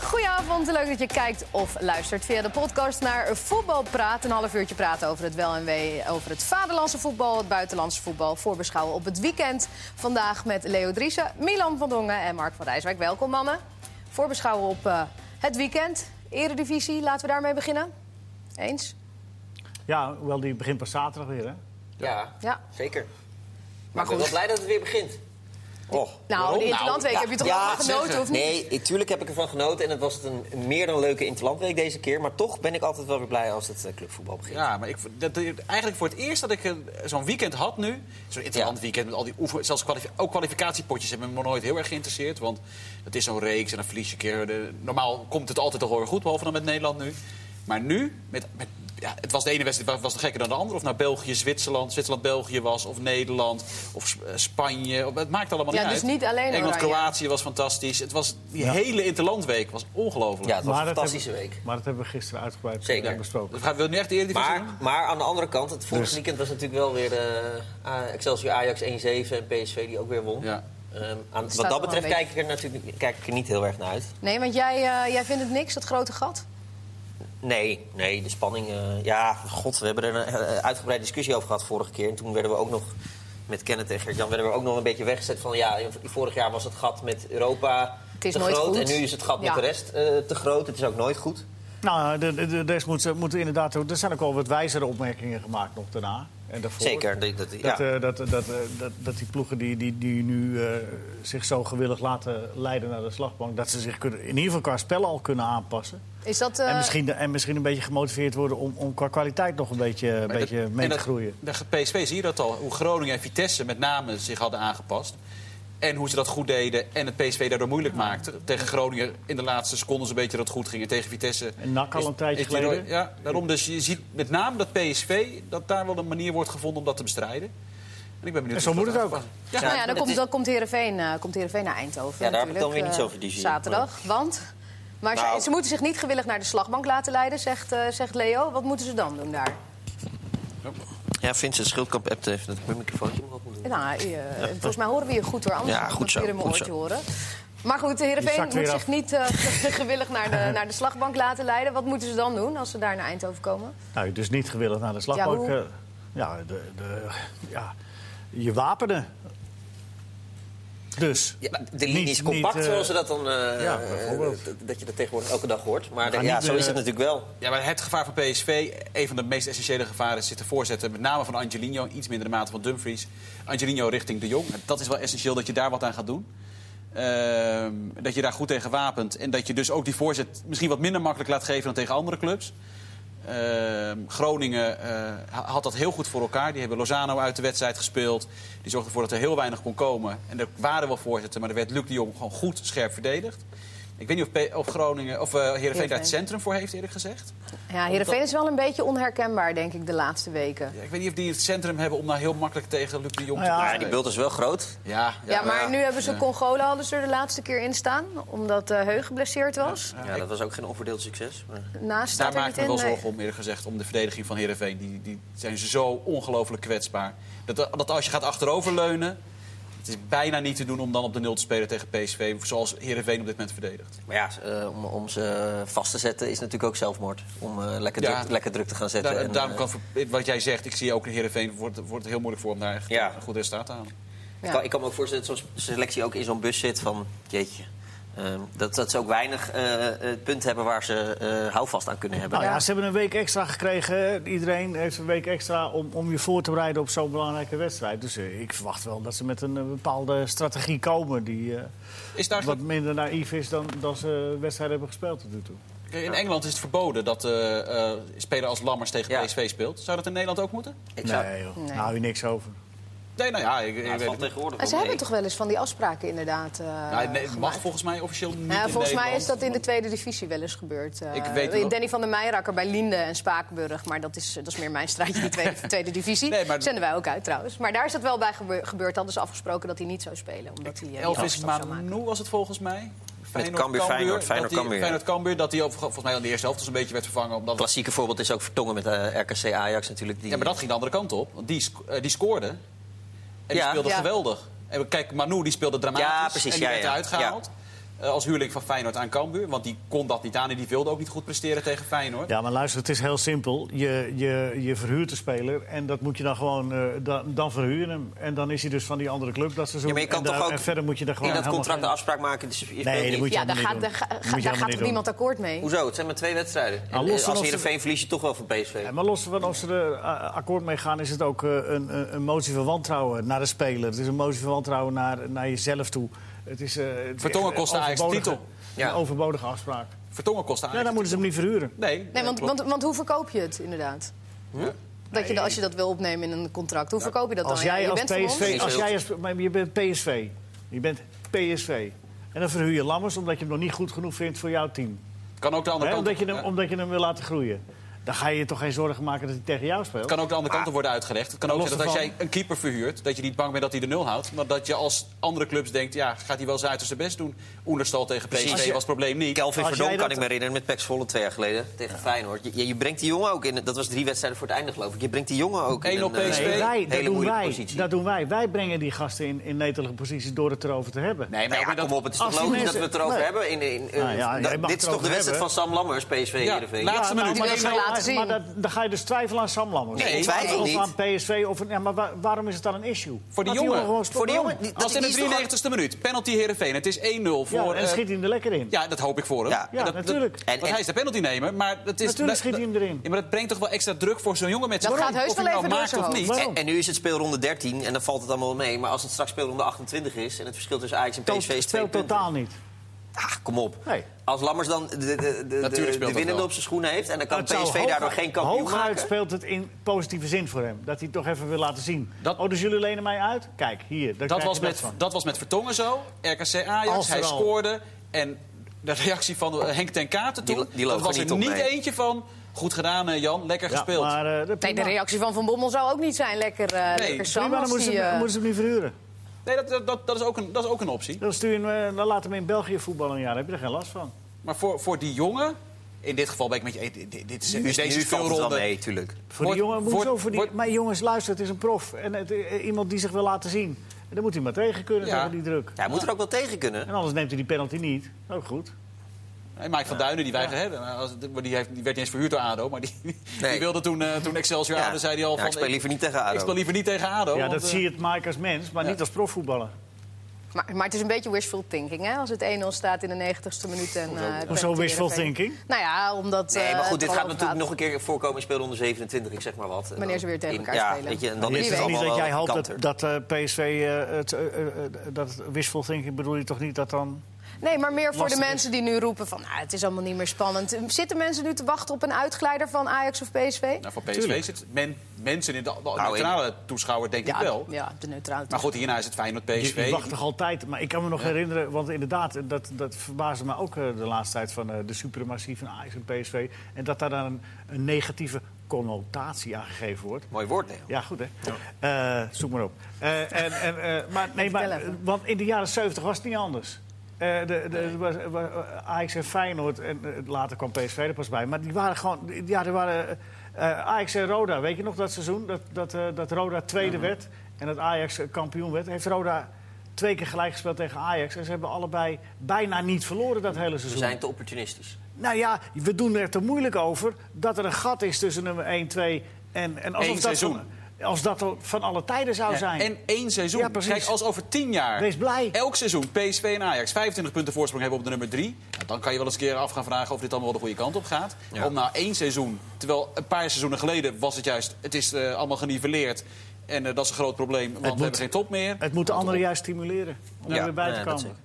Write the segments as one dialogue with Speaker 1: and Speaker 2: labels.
Speaker 1: goedenavond, leuk dat je kijkt of luistert via de podcast naar Voetbal Praat. Een half uurtje praten over het wel en wee, over het vaderlandse voetbal, het buitenlandse voetbal. Voorbeschouwen op het weekend. Vandaag met Leo Driessen, Milan van Dongen en Mark van Rijswijk. Welkom mannen. Voorbeschouwen op eh, het weekend. Eredivisie, laten we daarmee beginnen. Eens?
Speaker 2: Ja, wel die begint pas zaterdag weer, hè?
Speaker 3: Ja,
Speaker 1: Ja.
Speaker 3: zeker.
Speaker 1: Maar
Speaker 3: Maar ik ben
Speaker 1: goed.
Speaker 3: wel blij dat het weer begint. Oh,
Speaker 1: Nou, de Interlandweek heb je toch wel van genoten, of niet?
Speaker 3: Nee, ik- tuurlijk heb ik ervan genoten. En het was een meer dan leuke Interlandweek deze keer. Maar toch ben ik altijd wel weer blij als het eh, clubvoetbal begint.
Speaker 4: Ja, maar ik, dat, dat- eigenlijk voor het eerst dat ik een- zo'n weekend had nu. Zo'n interessant
Speaker 3: Ja.
Speaker 4: weekend met al die oefen, zelfs kwalifi- ook kwalificatiepotjes hebben me nog nooit heel erg geïnteresseerd. Want het is zo'n reeks en dan verlies je een keer. De, normaal komt het altijd toch wel weer goed, behalve dan met Nederland nu. Maar nu, met, met, ja, het was de ene wedstrijd wa- was nog gekker dan de andere. Of naar België, Zwitserland, Zwitserland-België was. Of Nederland, of Sp- eh, Spanje. Of- Het maakt allemaal
Speaker 1: Ja,
Speaker 4: niet
Speaker 1: dus
Speaker 4: uit.
Speaker 1: niet alleen Oranje.
Speaker 4: Engeland-Kroatië was fantastisch. Het was, die hele Interlandweek was ongelooflijk.
Speaker 3: Ja, het was een
Speaker 2: dat
Speaker 3: fantastische
Speaker 2: hebben-
Speaker 3: week.
Speaker 2: Maar dat hebben we gisteren uitgebreid
Speaker 3: Zeker.
Speaker 2: eh, besproken.
Speaker 4: Dus gaan we nu echt de Eredivisie
Speaker 3: Maar,
Speaker 4: doen?
Speaker 3: maar aan de andere kant, het vorige
Speaker 2: Dus-
Speaker 3: weekend was natuurlijk wel weer eh, ah, Excelsior Ajax 1-7 en PSV die ook weer won.
Speaker 4: Ja.
Speaker 3: Ehm, aan, wat
Speaker 1: allemaal
Speaker 3: dat
Speaker 1: een
Speaker 3: betreft
Speaker 1: beetje-
Speaker 3: kijk ik, er natuurlijk, kijk ik er niet heel erg naar uit.
Speaker 1: Nee, want jij, eh, jij vindt het niks, dat grote gat?
Speaker 3: Nee, nee, de spanning. eh, ja, god, we hebben er een eh, uitgebreide discussie over gehad vorige keer. En toen werden we ook nog, met Kenneth en Gert-Jan, werden we ook nog een beetje weggezet van... ja, vorig jaar was het gat met Europa
Speaker 1: Het is
Speaker 3: te
Speaker 1: nooit
Speaker 3: groot
Speaker 1: goed.
Speaker 3: en nu is het gat
Speaker 1: Ja.
Speaker 3: met de rest eh, te groot. Het is ook nooit goed.
Speaker 2: Nou, de, de, de, deze moeten, moeten inderdaad... Er zijn ook al wat wijzere opmerkingen gemaakt nog daarna. En daarvoor.
Speaker 3: Zeker. Dat, dat- ja.
Speaker 2: Dat, eh, dat, dat, eh, dat, dat die ploegen die, die, die nu eh, zich zo gewillig laten leiden naar de slagbank... dat ze zich kunnen, in ieder geval qua spel al kunnen aanpassen.
Speaker 1: Is dat... eh,
Speaker 2: En, misschien, en misschien een beetje gemotiveerd worden om, om qua kwaliteit nog een beetje, een
Speaker 4: Maar
Speaker 2: beetje
Speaker 4: dat-
Speaker 2: mee
Speaker 4: en
Speaker 2: te
Speaker 4: dat-
Speaker 2: groeien.
Speaker 4: De PSV zie je dat al, hoe Groningen en Vitesse met name zich hadden aangepast. En hoe ze dat goed deden en het PSV daardoor moeilijk maakte. Tegen Groningen in de laatste seconden een beetje dat het goed ging. En tegen Vitesse...
Speaker 2: En NAC al
Speaker 4: is-
Speaker 2: een tijdje
Speaker 4: is die door-
Speaker 2: geleden.
Speaker 4: Ja, daarom dus je ziet met name dat PSV, dat daar wel een manier wordt gevonden om dat te bestrijden. En ik ben benieuwd
Speaker 2: En zo
Speaker 4: of dat
Speaker 2: moet het ook.
Speaker 4: uitpakt. Ja,
Speaker 1: Nou ja, dan
Speaker 3: dat
Speaker 1: komt,
Speaker 3: is-
Speaker 1: dan komt Heerenveen, eh, komt Heerenveen naar Eindhoven
Speaker 3: Ja, daar heb ik
Speaker 1: natuurlijk,
Speaker 3: dan weer niet
Speaker 1: eh,
Speaker 3: zoveel visie in.
Speaker 1: Zaterdag, want... Maar ze-
Speaker 3: Nou.
Speaker 1: ze, moeten zich niet gewillig naar de slagbank laten leiden, zegt, eh, zegt Leo. Wat moeten ze dan doen daar?
Speaker 3: Ja, Vincent Schildkamp appt even dat ik mijn microfoontje omhoog moet doen.
Speaker 1: Nou, eh, volgens mij horen we je goed hoor, anders
Speaker 3: Ja,
Speaker 1: moet ik
Speaker 3: goed zo,
Speaker 1: hier in mijn
Speaker 3: goed
Speaker 1: oortje
Speaker 3: zo.
Speaker 1: horen. Maar goed,
Speaker 2: Je
Speaker 1: Heerenveen
Speaker 2: zakt
Speaker 1: moet
Speaker 2: weer
Speaker 1: zich
Speaker 2: af.
Speaker 1: niet eh, gewillig naar de, naar de slagbank laten leiden. Wat moeten ze dan doen als ze daar naar Eindhoven komen?
Speaker 2: Nou, dus niet gewillig naar de slagbank.
Speaker 1: Ja,
Speaker 2: eh,
Speaker 1: hoe?
Speaker 2: Ja, de, de, ja, je wapenen. Dus.
Speaker 3: Ja, de linie is
Speaker 2: Niet-
Speaker 3: compact,
Speaker 2: niet, eh,
Speaker 3: zoals ze dat dan... eh,
Speaker 2: ja, bijvoorbeeld.
Speaker 3: eh, dat- dat je dat tegenwoordig elke dag hoort. Maar
Speaker 2: gaan
Speaker 3: ja,
Speaker 2: niet,
Speaker 3: zo
Speaker 2: eh,
Speaker 3: is het natuurlijk wel.
Speaker 4: Ja, maar het gevaar van PSV, een van de meest essentiële gevaren zit de voorzetten. Met name van Angelino, iets minder de mate van Dumfries. Angelino richting de Jong. Dat is wel essentieel dat je daar wat aan gaat doen. Ehm, dat je daar goed tegen wapent. En dat je dus ook die voorzet misschien wat minder makkelijk laat geven dan tegen andere clubs. Ehm, Groningen eh, ha- had dat heel goed voor elkaar. Die hebben Lozano uit de wedstrijd gespeeld. Die zorgde ervoor dat er heel weinig kon komen. En er waren wel voorzetten, maar er werd Luc de Jong gewoon goed scherp verdedigd. Ik weet niet of, P- of Groningen of eh Heerenveen daar
Speaker 1: Heerenveen.
Speaker 4: het centrum voor heeft eerlijk gezegd.
Speaker 1: Ja, Heerenveen is wel een beetje onherkenbaar, denk ik, de laatste weken.
Speaker 4: Ja, ik weet niet of die het centrum hebben om nou heel makkelijk tegen Luc de Jong
Speaker 2: Nou ja,
Speaker 4: te
Speaker 3: Ja, die bult is wel groot.
Speaker 4: Ja,
Speaker 1: Ja, maar nu hebben ze Congola hadden ze er de laatste keer in staan, omdat eh Heug geblesseerd was.
Speaker 3: Ja, dat was ook geen onverdeeld succes. Maar...
Speaker 1: Naast
Speaker 4: Daar
Speaker 1: staat er
Speaker 4: maak ik
Speaker 1: niet
Speaker 4: me
Speaker 1: in.
Speaker 4: wel
Speaker 1: nee.
Speaker 4: zorgen om, eerlijk gezegd, om de verdediging van Heerenveen. Die, die zijn ze zo ongelooflijk kwetsbaar. Dat, dat als je gaat achteroverleunen, het is bijna niet te doen om dan op de nul te spelen tegen PSV. Zoals Heerenveen op dit moment verdedigt.
Speaker 3: Maar ja, eh, om, om ze vast te zetten is natuurlijk ook zelfmoord. Om eh, lekker,
Speaker 4: Ja.
Speaker 3: druk, lekker druk te gaan zetten.
Speaker 4: Daar-
Speaker 3: En,
Speaker 4: daarom
Speaker 3: eh,
Speaker 4: kan, voor- wat jij zegt, ik zie ook in Heerenveen, wordt, wordt het heel moeilijk voor om daar echt
Speaker 3: Ja.
Speaker 4: een goed resultaat te halen.
Speaker 1: Ja.
Speaker 3: ik, kan, ik kan me ook voorstellen dat zo'n selectie ook in zo'n bus zit van... Jeetje, ehm, dat, dat ze ook weinig eh, eh, punten hebben waar ze eh, houvast aan kunnen hebben.
Speaker 2: Nou ja, ze hebben een week extra gekregen. Iedereen heeft een week extra om, om je voor te bereiden op zo'n belangrijke wedstrijd. Dus eh, ik verwacht wel dat ze met een eh, bepaalde strategie komen die eh,
Speaker 4: Is daar
Speaker 2: wat minder naïef is dan, dan ze wedstrijden hebben gespeeld tot nu toe.
Speaker 4: Kijk, In Engeland is het verboden dat eh, eh, speler als Lammers tegen
Speaker 3: Ja.
Speaker 4: PSV speelt. Zou dat in Nederland ook moeten?
Speaker 3: Ik zou-
Speaker 2: Nee, joh.
Speaker 1: Nee.
Speaker 2: daar hou je niks over.
Speaker 4: Nee, nou ja, ik, ik
Speaker 3: Ja, het
Speaker 4: weet
Speaker 3: valt
Speaker 4: het niet.
Speaker 3: tegenwoordig
Speaker 1: En ze
Speaker 3: wel
Speaker 1: hebben
Speaker 3: mee.
Speaker 1: toch wel eens van die afspraken inderdaad. eh,
Speaker 4: Nou, nee,
Speaker 3: Ah,
Speaker 4: het
Speaker 1: gemaakt?
Speaker 4: mag volgens mij officieel niet.
Speaker 1: Nou,
Speaker 4: in
Speaker 1: volgens mij is
Speaker 4: Nederland.
Speaker 1: dat in de tweede divisie wel eens gebeurd. Eh,
Speaker 4: Ik weet wel-
Speaker 1: Danny van der Meijerakker bij Linde en Spakenburg. Maar dat is, eh, dat is meer mijn straatje, die tweede, tweede divisie.
Speaker 4: Nee, maar-
Speaker 1: Zenden wij ook uit trouwens. Maar daar is dat wel bij gebe- gebeurd. Hadden ze afgesproken dat hij niet zou spelen. Omdat hij, eh, die
Speaker 4: Elf is
Speaker 1: afstand zou maken.
Speaker 4: Manu was het volgens mij. Feyenoord,
Speaker 3: Cambuur, Feyenoord,
Speaker 4: dat
Speaker 3: Feyenoord,
Speaker 4: die-
Speaker 3: Cambuur, ja.
Speaker 4: Feyenoord, Cambuur, dat hij op- volgens mij al in de eerste helft dus een beetje werd vervangen. Omdat
Speaker 3: Klassieke voorbeeld is ook Vertongen met eh, RKC Ajax natuurlijk. Die,
Speaker 4: ja, maar dat ging de andere kant op. Want die, sc- eh, die scoorde. En die
Speaker 3: Ja.
Speaker 4: speelde
Speaker 1: Ja.
Speaker 4: geweldig. En we- kijk, Manu die speelde dramatisch.
Speaker 3: Ja, precies,
Speaker 4: En die
Speaker 3: ja,
Speaker 4: werd
Speaker 3: ja,
Speaker 4: eruit
Speaker 3: ja.
Speaker 4: gehaald. eh, als huurling van Feyenoord aan Cambuur. Want die kon dat niet aan en die wilde ook niet goed presteren tegen Feyenoord.
Speaker 2: Ja, maar luister, het is heel simpel. Je, je, je verhuurt de speler en dat moet je dan gewoon... eh, dan, dan verhuur je hem. En dan is hij dus van die andere club dat seizoen.
Speaker 3: Ja, maar je kan
Speaker 2: en,
Speaker 3: toch
Speaker 2: daar-
Speaker 3: ook
Speaker 2: en verder moet je daar gewoon
Speaker 3: in dat
Speaker 2: helemaal
Speaker 3: contract de
Speaker 2: geen-
Speaker 3: afspraak maken. Dus je speelt
Speaker 2: Nee,
Speaker 3: niet.
Speaker 2: dat moet je
Speaker 1: Ja, daar
Speaker 2: helemaal
Speaker 1: gaat,
Speaker 2: niet
Speaker 1: daar,
Speaker 2: doen.
Speaker 1: ga-
Speaker 2: Moet je
Speaker 1: daar
Speaker 2: helemaal
Speaker 1: gaat toch
Speaker 2: niet doen.
Speaker 1: niemand akkoord mee?
Speaker 3: Hoezo? Het zijn maar twee wedstrijden. En,
Speaker 2: Nou, los
Speaker 3: eh,
Speaker 2: van
Speaker 3: als
Speaker 2: of ze-
Speaker 3: Heerenveen verlies je toch wel van PSV.
Speaker 2: Ja, maar los van of ze er eh, akkoord mee gaan, is het ook eh, een, een- een motie van wantrouwen naar de speler. Het is een motie van wantrouwen naar, naar jezelf toe. Het is, eh, het is
Speaker 4: Vertongen
Speaker 2: echt,
Speaker 4: kost
Speaker 2: eh,
Speaker 4: de Ajax
Speaker 2: overbodige-
Speaker 4: titel.
Speaker 3: Ja.
Speaker 2: Een overbodige afspraak.
Speaker 4: Vertongen kostte
Speaker 2: Ja, dan
Speaker 4: eigenlijk...
Speaker 2: moeten ze hem niet verhuren.
Speaker 4: nee,
Speaker 1: Nee,
Speaker 4: dat
Speaker 1: want,
Speaker 4: klopt.
Speaker 1: want, want hoe verkoop je het inderdaad? Dat je, dat- als je dat wil opnemen in een contract,
Speaker 4: Nou,
Speaker 1: hoe verkoop je dat
Speaker 2: Als
Speaker 1: dan? Ja,
Speaker 2: jij
Speaker 1: je
Speaker 2: als
Speaker 1: bent van ons.
Speaker 2: PSV,
Speaker 3: ons.
Speaker 2: als jij als, maar je bent PSV, je bent PSV. En dan verhuur je Lammers omdat je hem nog niet goed genoeg vindt voor jouw team.
Speaker 4: kan ook de andere
Speaker 2: Hè,
Speaker 4: kant
Speaker 2: omdat, je
Speaker 4: op.
Speaker 2: hem,
Speaker 4: Ja.
Speaker 2: omdat je hem wil laten groeien. Dan ga je je toch geen zorgen maken dat hij tegen jou speelt?
Speaker 4: Het kan ook de andere kant op worden uitgelegd. Het kan ook
Speaker 2: los
Speaker 4: zijn dat als jij
Speaker 2: ervan-
Speaker 4: een keeper verhuurt, dat je niet bang bent dat hij de nul houdt. Maar dat je als andere clubs denkt, ja, gaat hij wel zijn uiterste best doen. Oenerstal tegen
Speaker 3: Precies.
Speaker 4: PSV
Speaker 3: Als je-
Speaker 4: was het probleem niet.
Speaker 3: Kelvin
Speaker 2: Als
Speaker 3: Verdon
Speaker 2: jij
Speaker 3: kan
Speaker 2: dat-
Speaker 3: ik me herinneren met Pax Volle twee jaar geleden tegen Feyenoord. Je- Je, je brengt die jongen ook in. Dat was drie wedstrijden voor het einde geloof ik. Je brengt die jongen ook in.
Speaker 4: Eén op
Speaker 3: een, eh,
Speaker 4: PSV.
Speaker 2: Nee, wij, dat
Speaker 3: hele
Speaker 2: doen
Speaker 3: moeilijke
Speaker 2: wij.
Speaker 3: positie.
Speaker 2: Dat doen wij. Wij brengen die gasten in, in netelige posities door het erover te hebben.
Speaker 4: Nee,
Speaker 3: Nou
Speaker 4: maar
Speaker 3: ja,
Speaker 4: dat-
Speaker 3: kom op, het is
Speaker 2: als
Speaker 3: toch
Speaker 2: die
Speaker 3: logisch dat
Speaker 2: mensen-
Speaker 3: we het erover
Speaker 2: nee.
Speaker 3: hebben. In, in, eh,
Speaker 2: Nou ja,
Speaker 3: dat-
Speaker 2: jij mag
Speaker 3: dit is
Speaker 2: het
Speaker 3: toch
Speaker 2: erover
Speaker 3: de wedstrijd van
Speaker 2: hebben.
Speaker 3: Sam Lammers, PSV
Speaker 4: Ja,
Speaker 3: Heerenveen.
Speaker 4: laat- laatste minuut.
Speaker 1: Die wil ze
Speaker 2: dan-
Speaker 1: laten zien.
Speaker 2: nou, maar dat- dan ga je dus twijfelen aan Sam Lammers.
Speaker 3: Nee, ik
Speaker 2: Of aan-
Speaker 3: twijfel
Speaker 2: of
Speaker 3: niet.
Speaker 2: aan PSV. Of, ja, maar wa- waarom is het dan een issue?
Speaker 4: Voor die
Speaker 2: Laat
Speaker 4: jongen.
Speaker 2: gewoon
Speaker 3: Voor die
Speaker 2: spelen.
Speaker 3: jongen, die- dat
Speaker 4: Als in de
Speaker 3: is toch-
Speaker 4: 93ste minuut, penalty Heerenveen. Het is 1-0 voor...
Speaker 2: Ja, en
Speaker 4: eh,
Speaker 2: schiet hij hem er lekker in.
Speaker 4: ja, dat hoop ik voor hem.
Speaker 3: Ja.
Speaker 2: Ja,
Speaker 4: dat- dat-
Speaker 2: natuurlijk.
Speaker 3: En-
Speaker 4: want hij is de penalty nemer, maar dat is...
Speaker 2: Natuurlijk schiet hij hem erin.
Speaker 4: Ja, maar dat brengt toch wel extra druk voor zo'n jongen met zijn
Speaker 1: Dat gaat
Speaker 4: rug,
Speaker 1: heus
Speaker 4: of hij
Speaker 1: wel
Speaker 4: hem nou
Speaker 1: even
Speaker 4: maakt
Speaker 1: door
Speaker 4: of
Speaker 1: zijn
Speaker 4: niet.
Speaker 2: hoofd.
Speaker 3: En, en nu is het speelronde 13 en dan valt het allemaal mee. Maar als het straks speelronde 28 is en het verschil tussen Ajax en
Speaker 2: Toont-
Speaker 3: PSV is twee
Speaker 2: speelt
Speaker 3: punten.
Speaker 2: totaal niet.
Speaker 3: Ah, kom op.
Speaker 2: Nee.
Speaker 3: Als Lammers dan de, de, de, de,
Speaker 4: Natuurlijk speelt
Speaker 3: de
Speaker 4: dat
Speaker 3: winnende
Speaker 4: wel.
Speaker 3: op zijn schoenen heeft... en dan kan
Speaker 2: Het zou
Speaker 3: PSV daardoor geen kampioen
Speaker 2: Hooguit
Speaker 3: maken.
Speaker 2: speelt het in positieve zin voor hem. Dat hij het toch even wil laten zien.
Speaker 4: Dat-
Speaker 2: oh, dus jullie lenen mij uit? Kijk, hier. daar
Speaker 4: Dat
Speaker 2: krijg
Speaker 4: was,
Speaker 2: je
Speaker 4: met,
Speaker 2: van.
Speaker 4: dat was met Vertongen zo. RKC Ajax,
Speaker 2: Als er
Speaker 4: hij
Speaker 2: al.
Speaker 4: scoorde. En de reactie van eh, Henk ten Katen
Speaker 3: Oh. Die-
Speaker 4: toen...
Speaker 3: die
Speaker 4: dat
Speaker 3: loopt
Speaker 4: was
Speaker 3: er
Speaker 4: er
Speaker 3: niet
Speaker 4: niet
Speaker 3: op, nee.
Speaker 4: eentje van... Goed gedaan, eh, Jan. Lekker
Speaker 2: Ja,
Speaker 4: gespeeld.
Speaker 2: Maar, eh, dat
Speaker 1: Nee, de
Speaker 2: prima.
Speaker 1: reactie van Van Bommel zou ook niet zijn lekker, eh lekker Sam.
Speaker 2: Prima, dan
Speaker 1: Als
Speaker 2: moeten
Speaker 1: die,
Speaker 2: ze, hem-
Speaker 1: eh,
Speaker 2: moeten ze hem niet verhuren.
Speaker 4: Nee, dat, dat- dat, dat, is ook een, dat is ook een optie.
Speaker 2: Dan, stuur je hem, eh, dan laat hem in België voetballen een jaar. Dan heb je er geen last van.
Speaker 4: Maar voor, voor die jongen... In dit geval ben ik met je... eh, Dit, dit- dit is,
Speaker 3: Dus
Speaker 4: deze
Speaker 3: nu valt het wel
Speaker 4: speelronde...
Speaker 3: mee, tuurlijk.
Speaker 2: Voor
Speaker 4: Wordt-
Speaker 2: die jongen, moet
Speaker 4: wordt-
Speaker 2: zo voor die,
Speaker 4: wordt-
Speaker 2: maar jongens, luister, het is een prof. En het, eh, iemand die zich wil laten zien. En dan moet hij maar tegen kunnen
Speaker 4: Ja.
Speaker 2: tegen die druk.
Speaker 3: Ja, hij moet er ook wel tegen kunnen.
Speaker 2: En anders neemt hij die penalty niet. Ook goed.
Speaker 4: Nee, Mike van Duinen, die wij hebben. Maar als- maar Die, heeft, die werd niet eens verhuurd door ADO. Maar die,
Speaker 3: Nee.
Speaker 4: die wilde toen, eh, toen Excelsior
Speaker 3: Ja.
Speaker 4: ADO, zei hij al
Speaker 3: Ja,
Speaker 4: van...
Speaker 3: ik speel liever niet tegen
Speaker 4: Ik
Speaker 3: ADO.
Speaker 4: speel liever niet tegen ADO.
Speaker 2: ja,
Speaker 4: want,
Speaker 2: dat
Speaker 4: eh,
Speaker 2: zie je het Mike als mens, maar
Speaker 4: ja.
Speaker 2: niet als profvoetballer.
Speaker 1: Maar, maar het is een beetje wishful thinking, hè? Als het 1-0 staat in de 90ste minuut. En, eh, penalty
Speaker 2: Hoezo wishful
Speaker 1: Heerenveen.
Speaker 2: thinking?
Speaker 1: Nou ja, omdat...
Speaker 3: Nee, maar
Speaker 1: eh,
Speaker 3: goed, dit
Speaker 1: het
Speaker 3: gaat
Speaker 1: erover
Speaker 3: natuurlijk nog een keer voorkomen in speelronde 27, ik zeg maar wat. En
Speaker 1: Wanneer
Speaker 3: dan
Speaker 1: ze weer tegen
Speaker 3: in-
Speaker 1: elkaar
Speaker 3: ja,
Speaker 1: spelen.
Speaker 3: Weet je, en dan
Speaker 1: Maar
Speaker 3: is
Speaker 2: is
Speaker 3: het
Speaker 2: het niet
Speaker 3: allemaal
Speaker 2: dat jij
Speaker 3: wel
Speaker 2: hoopt dat,
Speaker 3: kanter.
Speaker 2: dat eh, PSV... eh, het, eh, eh, eh, dat wishful thinking bedoel je toch niet dat dan...
Speaker 1: Nee, maar meer voor de
Speaker 2: lastig is.
Speaker 1: mensen die nu roepen van... Nou, het is allemaal niet meer spannend. Zitten mensen nu te wachten op een uitgeleider van Ajax of PSV?
Speaker 4: Nou, van PSV
Speaker 2: Tuurlijk.
Speaker 4: zit men, mensen in de, de
Speaker 3: in-
Speaker 4: neutrale toeschouwer denk ik wel.
Speaker 1: Ja, de neutrale.
Speaker 4: Maar goed, hierna is het Feyenoord
Speaker 2: Je,
Speaker 4: PSV.
Speaker 2: je wacht toch altijd? Maar ik kan me nog herinneren, want inderdaad, eh, dat, dat verbaasde me ook eh, de laatste tijd van eh, de suprematie van Ajax en PSV. En dat daar dan een, een negatieve connotatie aan gegeven wordt.
Speaker 3: Mooi woord, nee.
Speaker 2: Ja, goed hè. Eh, zoek maar op. Eh, en, en, eh, maar, nee, maar,
Speaker 1: vertel even.
Speaker 2: want in de jaren 70 was het niet anders. Eh, de, de, was, was- eh, Ajax en Feyenoord, en eh, later kwam PSV er pas bij. Maar die waren gewoon... die- Ja, die waren, eh, Ajax en Roda, weet je nog dat seizoen? Dat, dat, eh, dat Roda tweede werd en dat Ajax eh, kampioen werd. Heeft Roda twee keer gelijk gespeeld tegen Ajax. En ze hebben allebei bijna niet verloren dat hele
Speaker 3: We
Speaker 2: seizoen.
Speaker 3: zijn te opportunistisch.
Speaker 2: Nou ja, we doen er te moeilijk over dat er een gat is tussen nummer 1, 2 en... en alsof
Speaker 4: Eén
Speaker 2: dat
Speaker 4: seizoen.
Speaker 2: Van, als dat al van alle tijden zou
Speaker 4: Ja,
Speaker 2: zijn.
Speaker 4: En één seizoen.
Speaker 2: Ja, precies.
Speaker 4: Kijk, als over tien jaar
Speaker 2: Wees blij.
Speaker 4: elk seizoen PSV en Ajax 25 punten voorsprong hebben op de nummer drie... nou, dan kan je wel eens een keer af gaan vragen of dit allemaal wel de goede kant op gaat. Om na één seizoen, terwijl een paar seizoenen geleden was het juist... het is eh, allemaal geniveleerd en eh, dat is een groot probleem, want
Speaker 2: moet-
Speaker 4: we hebben geen top meer.
Speaker 2: Het moet de anderen juist stimuleren om er weer bij te
Speaker 3: nee, dat
Speaker 2: komen.
Speaker 3: zeker.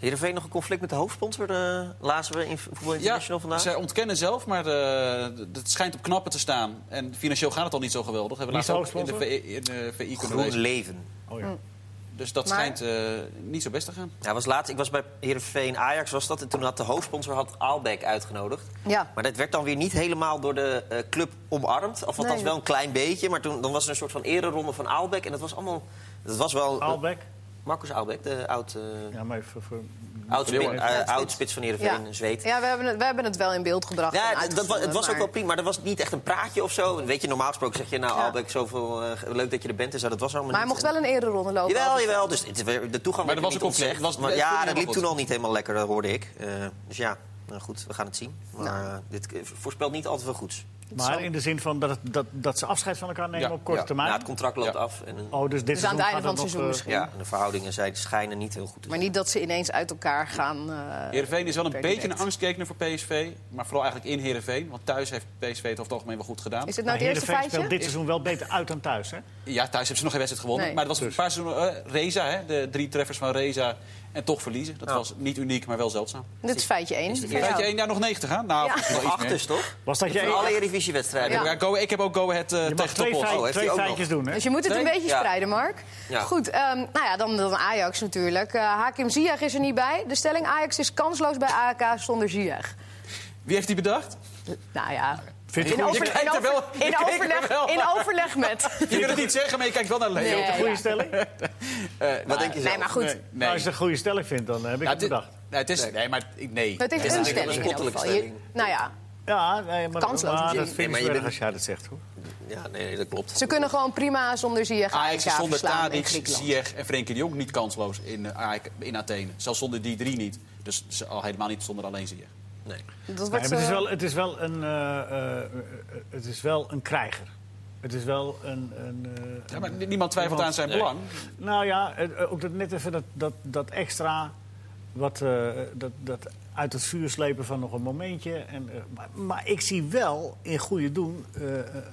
Speaker 3: Heerenveen nog een conflict met de hoofdsponsor, eh, lazen we in Voetbal International vandaag.
Speaker 4: zij ontkennen zelf, maar de, de- het schijnt op knappen te staan. En financieel gaat het al niet zo geweldig. Hebben we
Speaker 2: Wie is
Speaker 4: laatst ook in de
Speaker 2: hoofdsponsor?
Speaker 4: VI, in de VI kunnen
Speaker 3: Groen
Speaker 4: lezen.
Speaker 3: Leven.
Speaker 2: Oh, ja.
Speaker 4: Dus dat
Speaker 1: Maar-
Speaker 4: schijnt eh, niet zo best te gaan.
Speaker 3: Ja, was laatst, ik was bij Heerenveen Ajax, was dat, en toen had de hoofdsponsor had Aalbeck uitgenodigd.
Speaker 1: Ja.
Speaker 3: Maar dat werd dan weer niet helemaal door de eh, club omarmd. Of althans
Speaker 1: Nee.
Speaker 3: wel een klein beetje, maar toen dan was er een soort van ereronde van Aalbeck. En dat was allemaal... Dat was wel...
Speaker 2: Aalbeck?
Speaker 3: Marcus Aalbeck, de oud... eh,
Speaker 2: Ja, maar even voor
Speaker 3: Oud,
Speaker 4: Heel erg.
Speaker 3: eh, oud spits van Heerenveen, een zweet.
Speaker 1: ja we, hebben het, we hebben het wel in beeld gebracht. en
Speaker 3: Ja, dat- dat, wa-
Speaker 1: uitgezonden,
Speaker 3: het was ook
Speaker 1: maar-
Speaker 3: wel prima, maar dat was niet echt een praatje of zo. En Weet je, normaal gesproken zeg je, nou
Speaker 1: Ja.
Speaker 3: Albeck, zoveel eh, leuk dat je er bent en zo. Dat was allemaal
Speaker 1: Maar hij
Speaker 3: niet. eh,
Speaker 1: mocht wel een ereronde lopen.
Speaker 3: Jawel, jawel. Dus het- de toegang
Speaker 4: Maar
Speaker 3: werd niet
Speaker 4: er was een conflict.
Speaker 3: ontzegd.
Speaker 4: Was-
Speaker 3: Maar
Speaker 4: het
Speaker 3: ja,
Speaker 4: ging
Speaker 3: dat
Speaker 4: wel
Speaker 3: liep
Speaker 4: goed.
Speaker 3: toen al niet helemaal lekker, dat hoorde ik. Eh, dus ja, nou goed, we gaan het zien. Maar eh,
Speaker 1: Nou.
Speaker 3: dit eh, voorspelt niet altijd veel goeds.
Speaker 2: Maar in de zin van dat, het- dat, dat ze afscheid van elkaar nemen
Speaker 4: Ja,
Speaker 2: op korte
Speaker 4: ja.
Speaker 2: termijn.
Speaker 3: Nou, het contract loopt
Speaker 4: Ja.
Speaker 3: af. En,
Speaker 2: Oh, dus dit
Speaker 1: Dus aan het
Speaker 2: seizoen
Speaker 1: einde van
Speaker 2: gaat
Speaker 1: het seizoen
Speaker 2: nog, eh,
Speaker 1: misschien.
Speaker 3: ja, en de verhoudingen zijn, schijnen niet heel goed te
Speaker 1: Maar
Speaker 3: zijn.
Speaker 1: niet dat ze ineens uit elkaar gaan. eh,
Speaker 4: Heerenveen is wel een
Speaker 1: per
Speaker 4: beetje
Speaker 1: direct.
Speaker 4: een angstkekener voor PSV. Maar vooral eigenlijk in Heerenveen. Want thuis heeft PSV het over het algemeen wel goed gedaan.
Speaker 1: Is dit
Speaker 2: maar
Speaker 1: nou het eerste
Speaker 2: Heerenveen speelt
Speaker 1: feitje?
Speaker 2: dit seizoen wel beter uit dan thuis, hè?
Speaker 4: Ja, thuis hebben ze nog geen wedstrijd gewonnen.
Speaker 1: Nee.
Speaker 4: Maar het was
Speaker 2: Dus-
Speaker 4: een paar seizoenen... eh, Reza, hè, de drie treffers van Reza. En toch verliezen. Dat
Speaker 3: Ja.
Speaker 4: was niet uniek, maar wel zeldzaam.
Speaker 1: Dit is feitje 1.
Speaker 3: Is het
Speaker 4: Weet je één jaar nog 90 gaan? Nou,
Speaker 1: Ja.
Speaker 4: wel iets
Speaker 3: Acht
Speaker 4: meer.
Speaker 3: is toch?
Speaker 2: Was dat je,
Speaker 3: Van alle Eredivisie-wedstrijden.
Speaker 1: Ja.
Speaker 4: Ja, go, ik heb ook Go Ahead eh,
Speaker 2: je mag
Speaker 4: tegen
Speaker 2: twee,
Speaker 4: Topos.
Speaker 2: feit-
Speaker 3: Oh, heeft
Speaker 2: twee
Speaker 3: hij ook
Speaker 2: feitjes doen, hè?
Speaker 1: Dus je moet het een
Speaker 4: Nee?
Speaker 1: beetje
Speaker 3: Ja.
Speaker 1: spreiden, Mark.
Speaker 3: Ja.
Speaker 1: Goed, ehm, nou ja, dan, dan Ajax natuurlijk. Eh, Hakim Ziyech is er niet bij. De stelling Ajax is kansloos bij AEK zonder Ziyech.
Speaker 4: Wie heeft die bedacht?
Speaker 1: Nou ja,
Speaker 2: Vind je
Speaker 1: in,
Speaker 2: het goed?
Speaker 1: over-
Speaker 4: Je kijkt
Speaker 1: in
Speaker 4: er wel-
Speaker 1: over-
Speaker 4: je
Speaker 1: in
Speaker 4: kijkt er
Speaker 1: overleg,
Speaker 4: wel.
Speaker 1: in overleg met...
Speaker 4: Je wil het niet zeggen, maar je kijkt wel naar Leo.
Speaker 1: Nee.
Speaker 2: Een goede stelling?
Speaker 3: Wat denk je
Speaker 1: Nee,
Speaker 3: zelf?
Speaker 1: maar goed.
Speaker 4: Nee.
Speaker 2: Nou, als je het een goede stelling vindt, dan eh, heb ik
Speaker 4: Nou,
Speaker 2: het
Speaker 4: het is-
Speaker 2: bedacht.
Speaker 4: Nee, het is, nee, maar ik- nee.
Speaker 1: Het is
Speaker 3: is
Speaker 1: een
Speaker 3: eigenlijk wel
Speaker 1: stelling
Speaker 3: een
Speaker 1: in elk
Speaker 3: spottelijke
Speaker 1: geval. Je-
Speaker 3: stelling.
Speaker 1: nou ja,
Speaker 2: Ja, nee, maar,
Speaker 1: Kansloos.
Speaker 2: maar
Speaker 3: Nee,
Speaker 2: dat vind ik
Speaker 3: maar je
Speaker 2: wel
Speaker 3: bent-
Speaker 2: als jij dat zegt, hoor.
Speaker 3: Ja, nee, nee, dat klopt.
Speaker 1: ze kunnen gewoon prima zonder Ziyech AEK
Speaker 4: Ajax is zonder
Speaker 1: verslaan in
Speaker 4: Tadic,
Speaker 1: Griekenland.
Speaker 4: Ziyech en Frenkie de Jong niet kansloos in, eh, AEK in Athene. Zelfs zonder die drie niet. Dus ze- al helemaal niet zonder alleen Ziyech.
Speaker 3: Nee.
Speaker 1: Dat
Speaker 2: Nee,
Speaker 1: wordt,
Speaker 2: maar het, is
Speaker 1: eh,
Speaker 2: wel, het, is wel een, eh, eh, het is wel een krijger. Het is wel een... een eh,
Speaker 4: Ja, maar niemand twijfelt aan zijn
Speaker 3: Nee.
Speaker 4: belang.
Speaker 2: Nou ja, het- eh, ook dat, net even dat, dat, dat extra. Wat, eh, dat, dat uit het vuur slepen van nog een momentje. En, eh, maar, maar ik zie wel in goede doen eh,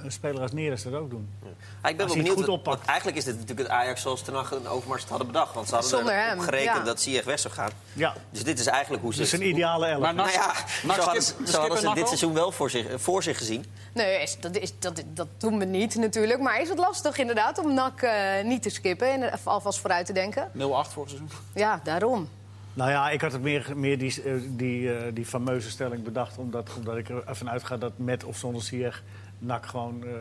Speaker 2: een speler als Neres dat ook doen.
Speaker 3: Ah, ik ben
Speaker 2: Als
Speaker 3: wel
Speaker 2: hij het
Speaker 3: benieuwd.
Speaker 2: goed
Speaker 3: wat-
Speaker 2: oppakt.
Speaker 3: want eigenlijk is dit natuurlijk het Ajax zoals Ten Hag en Overmars het hadden bedacht. Want ze hadden
Speaker 1: Zonder
Speaker 3: erop
Speaker 1: hem,
Speaker 3: gerekend
Speaker 1: ja.
Speaker 3: dat Ziyech weg zou gaan.
Speaker 2: Ja,
Speaker 3: Dus dit is eigenlijk hoe ze...
Speaker 2: dus een ideale elf.
Speaker 4: Maar
Speaker 3: Nou ja,
Speaker 4: Max-
Speaker 3: zo hadden,
Speaker 4: Skip-
Speaker 3: ze-
Speaker 4: Skip
Speaker 3: zo hadden
Speaker 4: en
Speaker 3: ze
Speaker 4: Nakko?
Speaker 3: dit seizoen wel voor zich, voor zich gezien.
Speaker 1: Nee, is- dat, is, dat, dat doen we niet natuurlijk. Maar is het lastig inderdaad om NAC eh, niet te skippen en er alvast vooruit te denken?
Speaker 4: 0-8 vorig seizoen.
Speaker 1: Ja, daarom.
Speaker 2: Nou ja, ik had het meer, meer die, eh, die, eh, die fameuze stelling bedacht. Omdat, omdat ik ervan uitga dat met of zonder Sieg NAC gewoon eh, eh,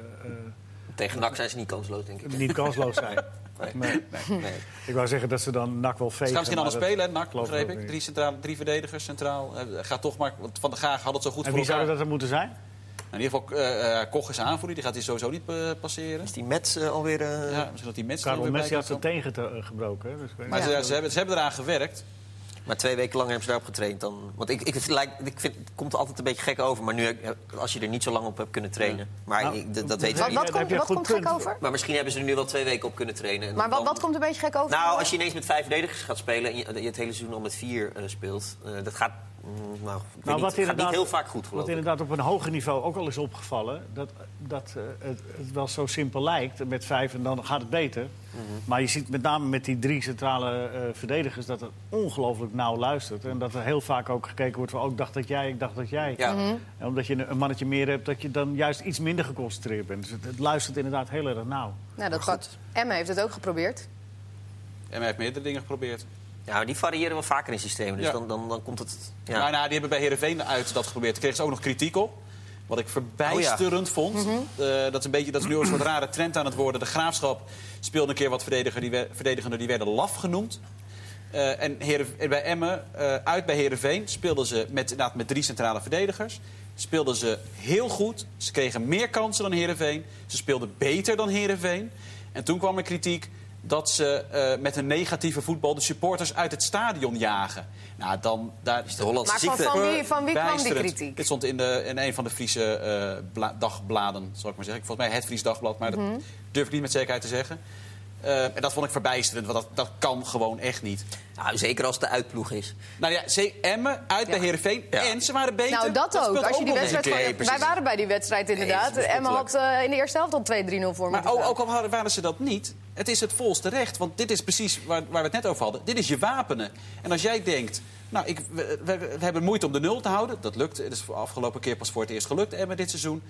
Speaker 3: Tegen NAC zijn ze niet kansloos, denk ik.
Speaker 2: niet kansloos zijn.
Speaker 3: Nee.
Speaker 2: Nee.
Speaker 3: Nee.
Speaker 2: Ik wou zeggen dat ze dan NAC wel
Speaker 4: Ze
Speaker 2: vegen.
Speaker 4: gaan misschien
Speaker 2: maar
Speaker 4: anders spelen, hè, NAC,
Speaker 2: geloof ik
Speaker 4: begreep
Speaker 2: ook
Speaker 4: ik.
Speaker 2: niet.
Speaker 4: Drie, centrale, drie verdedigers centraal. Eh, Gaat toch maar, want Van der Gaag had het zo goed
Speaker 2: En
Speaker 4: voor
Speaker 2: wie
Speaker 4: elkaar.
Speaker 2: zouden dat dan moeten zijn?
Speaker 4: In ieder geval, eh eh Koch is aanvoerder, die gaat hij sowieso niet eh, passeren.
Speaker 3: Is die Mets eh, alweer... eh,
Speaker 4: Ja, misschien dat die mensen
Speaker 2: Karel Messi had zijn tegen te- eh, gebroken. hè, Dus ik weet
Speaker 4: Maar
Speaker 2: niet.
Speaker 4: ze, ze, hebben, ze hebben eraan gewerkt.
Speaker 3: Maar twee weken lang hebben ze daarop getraind. Dan, want ik, ik, het lijkt, ik vind, het komt er altijd een beetje gek over. Maar nu, eh, als je er niet zo lang op hebt kunnen trainen... Maar
Speaker 2: Nou,
Speaker 3: ik- dat, dat
Speaker 2: dat-
Speaker 3: weten
Speaker 1: Wat,
Speaker 3: we
Speaker 2: daar
Speaker 1: wat
Speaker 3: niet.
Speaker 2: heb
Speaker 1: komt,
Speaker 2: je een
Speaker 1: wat
Speaker 2: goed
Speaker 1: komt gek
Speaker 2: punt.
Speaker 1: over?
Speaker 3: Maar misschien hebben ze er nu wel twee weken op kunnen trainen. en
Speaker 1: Maar wat,
Speaker 3: dan-
Speaker 1: wat komt een beetje gek over?
Speaker 3: Nou, als je ineens met vijf verdedigers gaat spelen... en je, je het hele seizoen al met vier eh, speelt... eh, dat gaat, mm, nou, ik weet
Speaker 2: Nou,
Speaker 3: niet, gaat niet heel vaak goed,
Speaker 2: Wat
Speaker 3: geloof ik.
Speaker 2: inderdaad op een hoger niveau ook al is opgevallen... dat, dat eh, het, het wel zo simpel lijkt met vijf en dan gaat het beter.
Speaker 3: Mhm.
Speaker 2: Maar je ziet met name met die drie centrale eh, verdedigers... dat het ongelooflijk nauw luistert. En dat er heel vaak ook gekeken wordt van... ook dacht dat jij, ik dacht dat jij.
Speaker 3: Ja.
Speaker 1: Mhm.
Speaker 2: En omdat je een- een mannetje meer hebt, dat je dan juist iets minder geconcentreerd bent. Dus het, het luistert inderdaad heel erg nauw.
Speaker 1: Nou, dat
Speaker 3: Maar
Speaker 1: kan. Emme heeft het ook geprobeerd.
Speaker 4: En hij heeft meerdere dingen geprobeerd.
Speaker 3: Ja, maar die variëren wel vaker in systemen. Dus
Speaker 4: Ja.
Speaker 3: dan, dan, dan komt het...
Speaker 4: Ja.
Speaker 3: Ja.
Speaker 4: Nou, nou, die hebben bij Heerenveen uit dat geprobeerd. Daar kregen ze ook nog kritiek op. Wat ik verbijsterend vond. eh, dat, is een beetje, dat is nu een soort rare trend aan het worden. De Graafschap speelde een keer wat verdediger, die we- verdedigenden. Die werden laf genoemd. Eh, en Heeren, en bij Emmen, eh, uit bij Heerenveen, speelden ze met, inderdaad, met drie centrale verdedigers. Speelden ze heel goed. Ze kregen meer kansen dan Heerenveen. Ze speelden beter dan Heerenveen. En toen kwam er kritiek dat ze eh, met een negatieve voetbal de supporters uit het stadion jagen. Nou, dan... Daar,
Speaker 3: de Hollandse
Speaker 1: Maar van,
Speaker 3: ziekte.
Speaker 1: van, wie, van wie kwam die
Speaker 4: Bijsterend.
Speaker 1: kritiek?
Speaker 4: Dit stond in, de, in een van de Friese eh, bla- dagbladen, zal ik maar zeggen. Volgens mij het Fries dagblad, maar
Speaker 1: Mhm.
Speaker 4: dat durf ik niet met zekerheid te zeggen. Eh, en dat vond ik verbijsterend, want dat, dat kan gewoon echt niet.
Speaker 3: Nou, zeker als het de uitploeg is.
Speaker 4: Nou ja, ze Emmen uit bij Heerenveen
Speaker 3: Ja.
Speaker 4: en ze waren beter.
Speaker 1: Nou, dat ook.
Speaker 4: speelt
Speaker 1: Als je die
Speaker 4: nog
Speaker 1: wedstrijd
Speaker 4: mee.
Speaker 1: van,
Speaker 3: Nee, precies.
Speaker 1: wij waren bij die wedstrijd inderdaad.
Speaker 3: Nee, dat is
Speaker 1: Emma had eh, in de eerste helft al 2-3-0 voor
Speaker 4: Maar oh,
Speaker 1: moeten
Speaker 4: ook,
Speaker 1: staan.
Speaker 4: ook al hadden- waren ze dat niet, het is het volste recht. Want dit is precies waar, waar we het net over hadden. Dit is je wapenen. En als jij denkt, nou, ik, we, we- we hebben moeite om de nul te houden. Dat lukt. Het is de afgelopen keer pas voor het eerst gelukt. En met dit seizoen.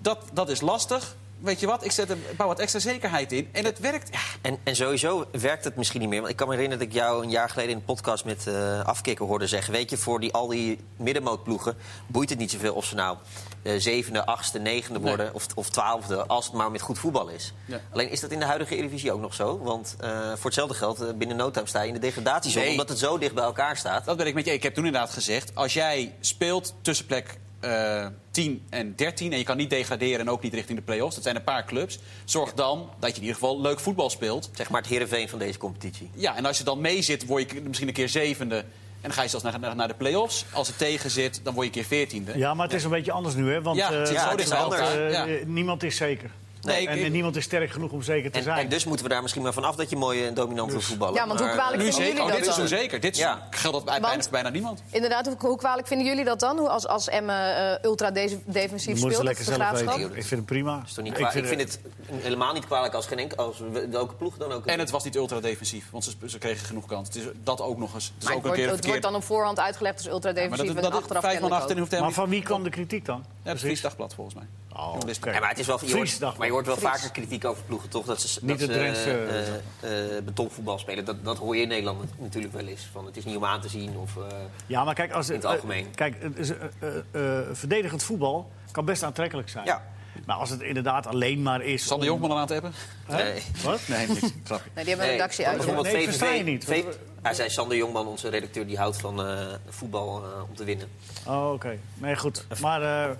Speaker 4: Dat, dat is lastig. weet je wat, ik zet er, bouw wat extra zekerheid in. En het werkt. Ja,
Speaker 3: En, en sowieso werkt het misschien niet meer. Want ik kan me herinneren dat ik jou een jaar geleden in een podcast met eh Afkikken hoorde zeggen... weet je, voor die, al die middenmootploegen boeit het niet zoveel of ze nou... eh, zevende, achtste, negende
Speaker 4: Nee.
Speaker 3: worden of, of twaalfde... als het maar met goed voetbal is.
Speaker 4: Ja.
Speaker 3: Alleen is dat in de huidige Eredivisie ook nog zo. Want eh, voor hetzelfde geld, eh, binnen no time sta je in de degradatiezone...
Speaker 4: Nee.
Speaker 3: omdat het zo dicht bij elkaar staat.
Speaker 4: dat ben ik met je. Ik heb toen inderdaad gezegd, als jij speelt tussen plek eh, 10 en 13... en je kan niet degraderen en ook niet richting de play-offs... dat zijn een paar clubs, zorg dan dat je in ieder geval leuk voetbal speelt.
Speaker 3: Zeg maar het Heerenveen van deze competitie.
Speaker 4: Ja, en als je dan mee zit, word je misschien een keer zevende... en dan ga je zelfs naar, naar, naar de play-offs. Als het tegen zit, dan word je een keer veertiende.
Speaker 2: Ja, maar het is een beetje anders nu, hè? Want
Speaker 4: Ja, het
Speaker 2: eh,
Speaker 4: zit zo
Speaker 2: het
Speaker 4: dicht
Speaker 2: is
Speaker 4: bij
Speaker 2: altijd,
Speaker 4: elkaar,
Speaker 2: eh,
Speaker 4: ja.
Speaker 2: niemand is zeker.
Speaker 4: Nee, ik-
Speaker 2: en,
Speaker 4: ik-
Speaker 2: niemand is sterk genoeg om zeker te
Speaker 3: En,
Speaker 2: zijn.
Speaker 3: en dus moeten we daar misschien maar vanaf dat je mooi en dominant wil voetballen.
Speaker 1: Ja, want hoe
Speaker 3: Maar,
Speaker 1: kwalijk
Speaker 4: Nu
Speaker 1: vinden
Speaker 4: zeker.
Speaker 1: jullie
Speaker 4: Oh,
Speaker 1: dat
Speaker 4: dit is
Speaker 1: dan?
Speaker 4: onzeker. Dit is,
Speaker 3: Ja.
Speaker 4: geldt bij, bijna,
Speaker 1: Want-
Speaker 4: voor bijna niemand.
Speaker 1: Inderdaad, hoe, hoe kwalijk vinden jullie dat dan? Hoe, als, als Emme eh, ultra de- defensief
Speaker 2: Dat moeten
Speaker 1: speelt,
Speaker 2: ze
Speaker 1: dat
Speaker 2: lekker
Speaker 1: is de
Speaker 2: zelf
Speaker 1: graafschap.
Speaker 2: weten. Ik vind het prima.
Speaker 3: is toch eh, niet kwalijk? Ik vind,
Speaker 2: het-
Speaker 3: het helemaal niet kwalijk als geen enkel, als we- welke ploeg dan ook.
Speaker 4: En het was niet ultra defensief, want ze, ze kregen genoeg kans. Het is dat ook nog eens. Het is
Speaker 1: Maar het wordt,
Speaker 4: ook een keer
Speaker 1: het
Speaker 4: een
Speaker 1: wordt
Speaker 4: verkeerd.
Speaker 1: dan op voorhand uitgelegd als ultra
Speaker 4: Ja, maar dat,
Speaker 1: defensief
Speaker 4: dat,
Speaker 1: en achteraf
Speaker 4: vijf man
Speaker 1: kennelijk
Speaker 4: achter en
Speaker 1: ook.
Speaker 4: hoeft helemaal
Speaker 2: Maar
Speaker 4: niet.
Speaker 2: van wie kwam de kritiek dan?
Speaker 4: Ja, het Fries Dagblad volgens mij.
Speaker 2: Oh,
Speaker 4: Journalisten.
Speaker 2: oké.
Speaker 3: Ja, maar het is wel, je
Speaker 2: Fries
Speaker 3: hoort,
Speaker 2: dag.
Speaker 3: maar je hoort wel
Speaker 1: Fries.
Speaker 3: vaker kritiek over ploegen, toch? Dat ze,
Speaker 2: Niet
Speaker 3: dat
Speaker 2: de
Speaker 3: ze
Speaker 2: Drentse-
Speaker 3: eh, eh, betonvoetbal spelen. Dat, dat hoor je in Nederland natuurlijk wel eens. Van, het is niet om aan te zien. Of, eh,
Speaker 2: Ja, maar kijk, als,
Speaker 3: In het
Speaker 2: eh,
Speaker 3: algemeen.
Speaker 2: kijk het is, eh, eh, eh, verdedigend voetbal kan best aantrekkelijk zijn.
Speaker 3: Ja.
Speaker 2: Maar als het inderdaad alleen maar is...
Speaker 4: Sander
Speaker 2: om-
Speaker 4: Jongman al aan het hebben.
Speaker 2: Hè?
Speaker 3: Nee.
Speaker 2: Wat? Nee, niks. Grapje.
Speaker 1: Nee, die hebben een redactie uit.
Speaker 2: dat
Speaker 3: bijvoorbeeld
Speaker 2: Nee, ik versta je
Speaker 3: VVV
Speaker 2: niet.
Speaker 3: VVV Hij zei Sander Jongman, onze redacteur, die houdt van eh, voetbal eh, om te winnen.
Speaker 2: Oh, oké. Nee, goed. Maar eh,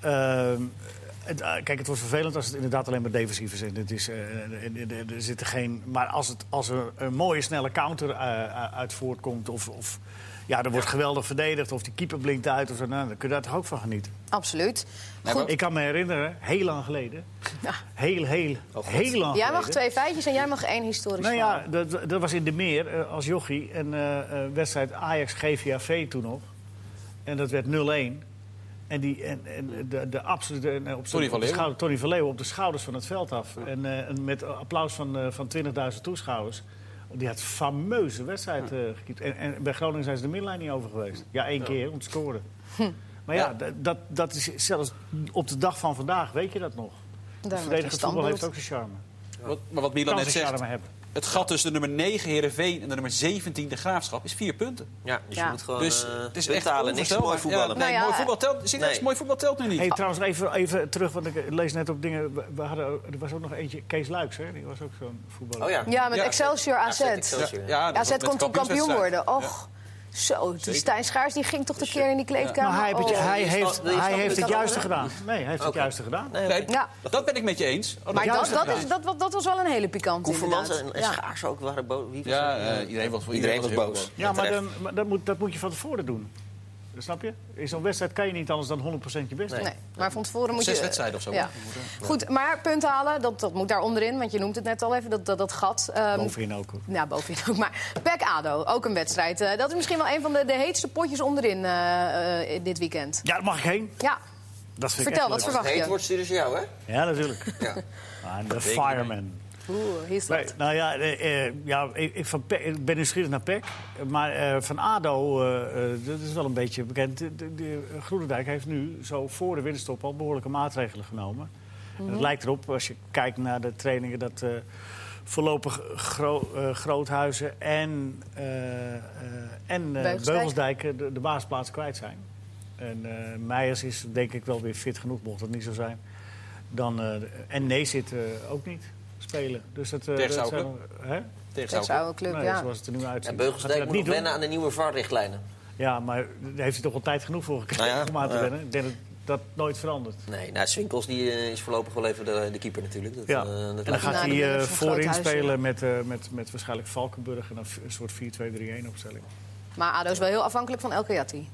Speaker 2: ehm, het, eh, kijk, het wordt vervelend als het inderdaad alleen maar defensief is. En het is eh, en- en- en- en er zitten geen, maar als, het, als er een mooie, snelle counter eh, uit voortkomt... of, of ja, er wordt geweldig verdedigd of die keeper blinkt uit... Of zo, nou, dan kun je daar toch ook van genieten.
Speaker 1: Absoluut.
Speaker 2: Ik kan me herinneren, heel lang geleden... Heel, heel, heel lang
Speaker 1: Jij
Speaker 2: geleden...
Speaker 1: mag twee feitjes en jij mag één historisch
Speaker 2: Nou
Speaker 1: verhaal.
Speaker 2: ja, dat, dat was in de meer eh, als jochie. Een eh, eh, wedstrijd Ajax-GVAV toen nog. En dat werd 0-1. En, die, en, en de, de absolute... en op
Speaker 4: Tony
Speaker 2: zijn- op
Speaker 4: van
Speaker 2: de
Speaker 4: Leeuwen.
Speaker 2: schouder- Tony van Leeuwen op de schouders van het veld af. En, eh, en met applaus van, eh, van 20.000 toeschouwers. Die had fameuze wedstrijd eh gekiept. En, en bij Groningen zijn ze de middenlijn niet over geweest. Ja, één keer om te scoren. Maar ja, d- dat, dat is zelfs op de dag van vandaag weet je dat nog.
Speaker 1: wordt
Speaker 2: Verdedigend voetbal
Speaker 1: gestandbeeld.
Speaker 2: heeft ook zijn charme.
Speaker 4: Wat, maar wat Milan
Speaker 2: Kan
Speaker 4: net
Speaker 2: zijn
Speaker 4: zegt,
Speaker 2: charme hebben.
Speaker 4: het gat tussen de nummer 9 Heerenveen en de nummer 17 de Graafschap is vier punten.
Speaker 3: Ja, dus
Speaker 1: Ja.
Speaker 3: je moet gewoon
Speaker 4: dus
Speaker 3: eh,
Speaker 4: het is
Speaker 3: punten
Speaker 4: echt
Speaker 3: halen. Niks
Speaker 4: onvoorstelbaar.
Speaker 3: mooi voetballen.
Speaker 4: Ja,
Speaker 1: Nou
Speaker 4: nee,
Speaker 1: ja,
Speaker 4: mooi voetbal telt, ik zeg,
Speaker 3: nee.
Speaker 4: mooi voetbal telt nu niet.
Speaker 2: Hey, trouwens, even, even terug, want ik lees net op dingen. We- We hadden, ook- er was ook nog eentje, Kees Luiks, hè? Die was ook zo'n voetballer.
Speaker 3: Oh ja.
Speaker 1: Ja, met
Speaker 4: Ja.
Speaker 1: Excelsior AZ.
Speaker 3: Excelsior.
Speaker 4: Ah, dat was
Speaker 1: AZ
Speaker 4: met de
Speaker 1: kon toen kampioen
Speaker 4: kampioenswedstrijd.
Speaker 1: worden. Och, zo. toen Stijn Schaars die ging toch de keer in die kleedkamer.
Speaker 2: Maar Nou, hij, heeft
Speaker 1: Oh.
Speaker 2: het- hij
Speaker 3: Wil je
Speaker 2: heeft,
Speaker 3: snap- wil je
Speaker 2: hij
Speaker 3: snappen
Speaker 2: heeft
Speaker 3: hoe
Speaker 2: het
Speaker 3: dat
Speaker 2: juiste
Speaker 3: allemaal
Speaker 2: gedaan. Nee, hij heeft het
Speaker 3: Oké.
Speaker 2: juiste gedaan.
Speaker 3: Nee,
Speaker 4: Nee,
Speaker 1: Ja.
Speaker 4: Dat ben ik met je eens. Oh, dat-
Speaker 1: Maar dat,
Speaker 2: juiste
Speaker 1: dat,
Speaker 2: gedaan.
Speaker 1: is, dat, dat, dat was wel een hele pikante
Speaker 3: Koevermans en,
Speaker 1: inderdaad.
Speaker 3: en
Speaker 1: Ja.
Speaker 3: Schaars ook waren boos. Wie was
Speaker 4: ja,
Speaker 3: er?
Speaker 4: eh, iedereen was,
Speaker 3: Iedereen was
Speaker 4: heel
Speaker 3: boos.
Speaker 2: Ja, maar,
Speaker 3: terecht.
Speaker 2: dan, maar dat, moet, dat moet je van tevoren doen. Snap je? In zo'n wedstrijd kan je niet anders dan 100% je best doen.
Speaker 1: Nee, maar van tevoren moet je...
Speaker 4: Zes wedstrijden of zo,
Speaker 1: Ja. Goed, maar punt halen, dat, dat moet daar onderin. Want je noemt het net al even, dat, dat, dat gat. ehm,
Speaker 2: Bovenin ook. hoor.
Speaker 1: Ja, bovenin ook. Maar PEC ADO, ook een wedstrijd. Eh, dat is misschien wel een van de, de heetste potjes onderin eh, eh, dit weekend.
Speaker 2: Ja, daar mag ik heen.
Speaker 1: Ja,
Speaker 2: Dat vind
Speaker 1: Vertel,
Speaker 2: ik echt
Speaker 1: wat
Speaker 2: leuk.
Speaker 1: verwacht
Speaker 3: Heet
Speaker 1: je?
Speaker 3: wordt sturen ze jou, hè?
Speaker 2: Ja, natuurlijk.
Speaker 3: Ja.
Speaker 2: Ah, en de fireman.
Speaker 1: Oeh, hier is
Speaker 2: Nee,
Speaker 1: dat.
Speaker 2: nou ja, eh, eh, ja ik, ik van Pe- ik ben nieuwsgierig naar PEC. Maar eh, van ADO, eh, eh, dat is wel een beetje bekend. De, de, de- Groenendijk heeft nu zo voor de winterstop al behoorlijke maatregelen genomen. En Het lijkt erop, als je kijkt naar de trainingen... dat eh, voorlopig Gro- eh, Groothuizen en, eh, eh, en eh,
Speaker 1: Beugelsdijk.
Speaker 2: Beugelsdijk eh, de, de baasplaats kwijt zijn. En eh, Meijers is denk ik wel weer fit genoeg, mocht dat niet zo zijn. Dan, eh, en nee zit eh, ook niet spelen. Dus dat, eh,
Speaker 4: Tegen
Speaker 2: dat
Speaker 4: Sauerbrug?
Speaker 2: zijn- hè?
Speaker 4: Tegen
Speaker 1: Dat is
Speaker 4: Sauerbrug.
Speaker 1: oude club,
Speaker 2: Nee,
Speaker 1: ja.
Speaker 2: zoals het er nu uitziet.
Speaker 3: En
Speaker 2: Gaat hij
Speaker 3: Beugelsdijk
Speaker 2: dat
Speaker 3: moet
Speaker 2: niet
Speaker 3: nog
Speaker 2: doen?
Speaker 3: wennen aan de nieuwe VAR-richtlijnen.
Speaker 2: Ja, maar daar heeft hij toch al tijd genoeg voor gekregen
Speaker 3: Nou ja,
Speaker 2: om aan te
Speaker 3: ja.
Speaker 2: wennen. Ik denk dat dat nooit verandert.
Speaker 3: Nee, nou, Swinkels die, eh, is voorlopig wel even de, de keeper natuurlijk. Dat,
Speaker 2: Ja.
Speaker 3: eh, dat
Speaker 2: en dan
Speaker 3: lijkt me-
Speaker 2: gaat
Speaker 1: Nou,
Speaker 2: hij
Speaker 1: die
Speaker 2: eh,
Speaker 1: jongens van
Speaker 2: voorin
Speaker 1: Groothuizen.
Speaker 2: spelen met, eh, met, met waarschijnlijk Valkenburg en dan een soort 4-2-3-1 opstelling.
Speaker 1: Maar ADO is wel heel afhankelijk van El Kayati.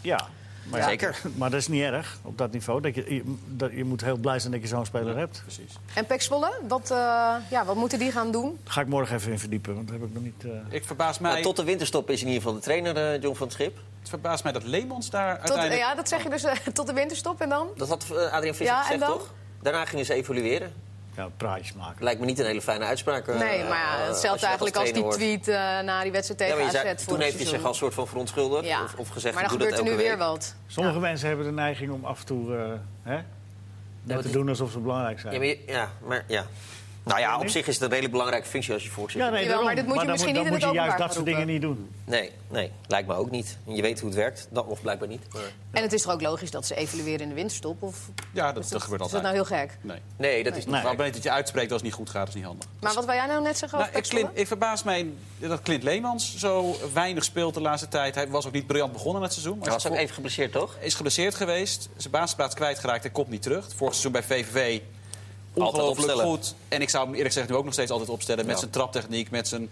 Speaker 2: Ja, maar ja,
Speaker 3: Zeker.
Speaker 2: Maar dat is niet erg op dat niveau. Dat je, je, dat, je moet heel blij zijn dat je zo'n speler hebt.
Speaker 4: Precies.
Speaker 1: En PEC Zwolle, wat, eh, ja, wat moeten die gaan doen?
Speaker 2: Daar ga ik morgen even in verdiepen, want dat heb ik nog niet. eh,
Speaker 4: Ik verbaas mij,
Speaker 3: Maar tot de winterstop is in ieder geval de trainer eh, John van het Schip.
Speaker 4: het verbaast mij dat Leemans daar
Speaker 1: Tot,
Speaker 4: uiteindelijk...
Speaker 1: ja, dat zeg je dus eh, tot de winterstop en dan?
Speaker 3: Dat had eh, Adriaan Visser
Speaker 1: Ja, en
Speaker 3: gezegd,
Speaker 1: dan?
Speaker 3: toch? Daarna gingen ze evalueren.
Speaker 2: ja, praatjes maken.
Speaker 3: Lijkt me niet een hele fijne uitspraak. eh,
Speaker 1: Nee, maar ja,
Speaker 3: eh,
Speaker 1: hetzelfde
Speaker 3: als je dat
Speaker 1: eigenlijk als die
Speaker 3: trainer hoort.
Speaker 1: tweet eh, na die wedstrijd
Speaker 3: Ja,
Speaker 1: tegen
Speaker 3: maar je
Speaker 1: AZ
Speaker 3: zei-
Speaker 1: vorig
Speaker 3: toen heeft hij zich
Speaker 1: seizoen.
Speaker 3: al soort van verontschuldigd.
Speaker 1: Ja.
Speaker 3: Of, of gezegd,
Speaker 1: maar dan
Speaker 3: ik doe
Speaker 1: gebeurt
Speaker 3: dat
Speaker 1: er
Speaker 3: elke
Speaker 1: nu weer
Speaker 3: week.
Speaker 1: wat.
Speaker 2: Sommige mensen hebben de neiging om af en toe eh, hè, Net te doen alsof ze belangrijk zijn.
Speaker 3: Ja, maar, je- ja, maar ja. Nou ja, op zich is het een redelijk belangrijke functie als je voorzitter
Speaker 2: Ja, nee,
Speaker 1: Jawel, maar
Speaker 2: daarom.
Speaker 1: dit moet je
Speaker 2: dan
Speaker 1: misschien
Speaker 2: dan
Speaker 1: niet in
Speaker 2: moet
Speaker 1: het
Speaker 2: je juist
Speaker 1: openbaar
Speaker 2: dat soort
Speaker 1: gaan
Speaker 2: dingen niet doen.
Speaker 3: bent. Nee, nee, lijkt me ook niet. En je weet hoe het werkt, dan, of blijkbaar niet.
Speaker 1: En het is toch ook logisch dat ze evalueren in de winterstop? Of
Speaker 4: Ja, dat, dat gebeurt
Speaker 1: is dat
Speaker 4: altijd.
Speaker 1: nou heel gek?
Speaker 4: Nee.
Speaker 3: Nee, dat is niet
Speaker 2: Nee.
Speaker 4: Maar
Speaker 3: waar.
Speaker 4: beter dat je uitspreekt als het niet goed gaat, is niet handig.
Speaker 1: Maar wat wil jij nou net zeggen
Speaker 4: Nou,
Speaker 1: over
Speaker 4: ik,
Speaker 1: Pexwolle?
Speaker 4: Clint- ik verbaas mij dat Clint Leemans zo weinig speelt de laatste tijd. Hij was ook niet briljant begonnen het seizoen.
Speaker 3: Hij
Speaker 4: maar
Speaker 3: was ook even geblesseerd, toch?
Speaker 4: is geblesseerd geweest, zijn basisplaats kwijtgeraakt en komt niet terug. Vorig seizoen bij VVV ongelooflijk
Speaker 3: opstellen.
Speaker 4: goed. En ik zou hem eerlijk gezegd nu ook nog steeds altijd opstellen. Met
Speaker 3: Ja.
Speaker 4: zijn traptechniek, met zijn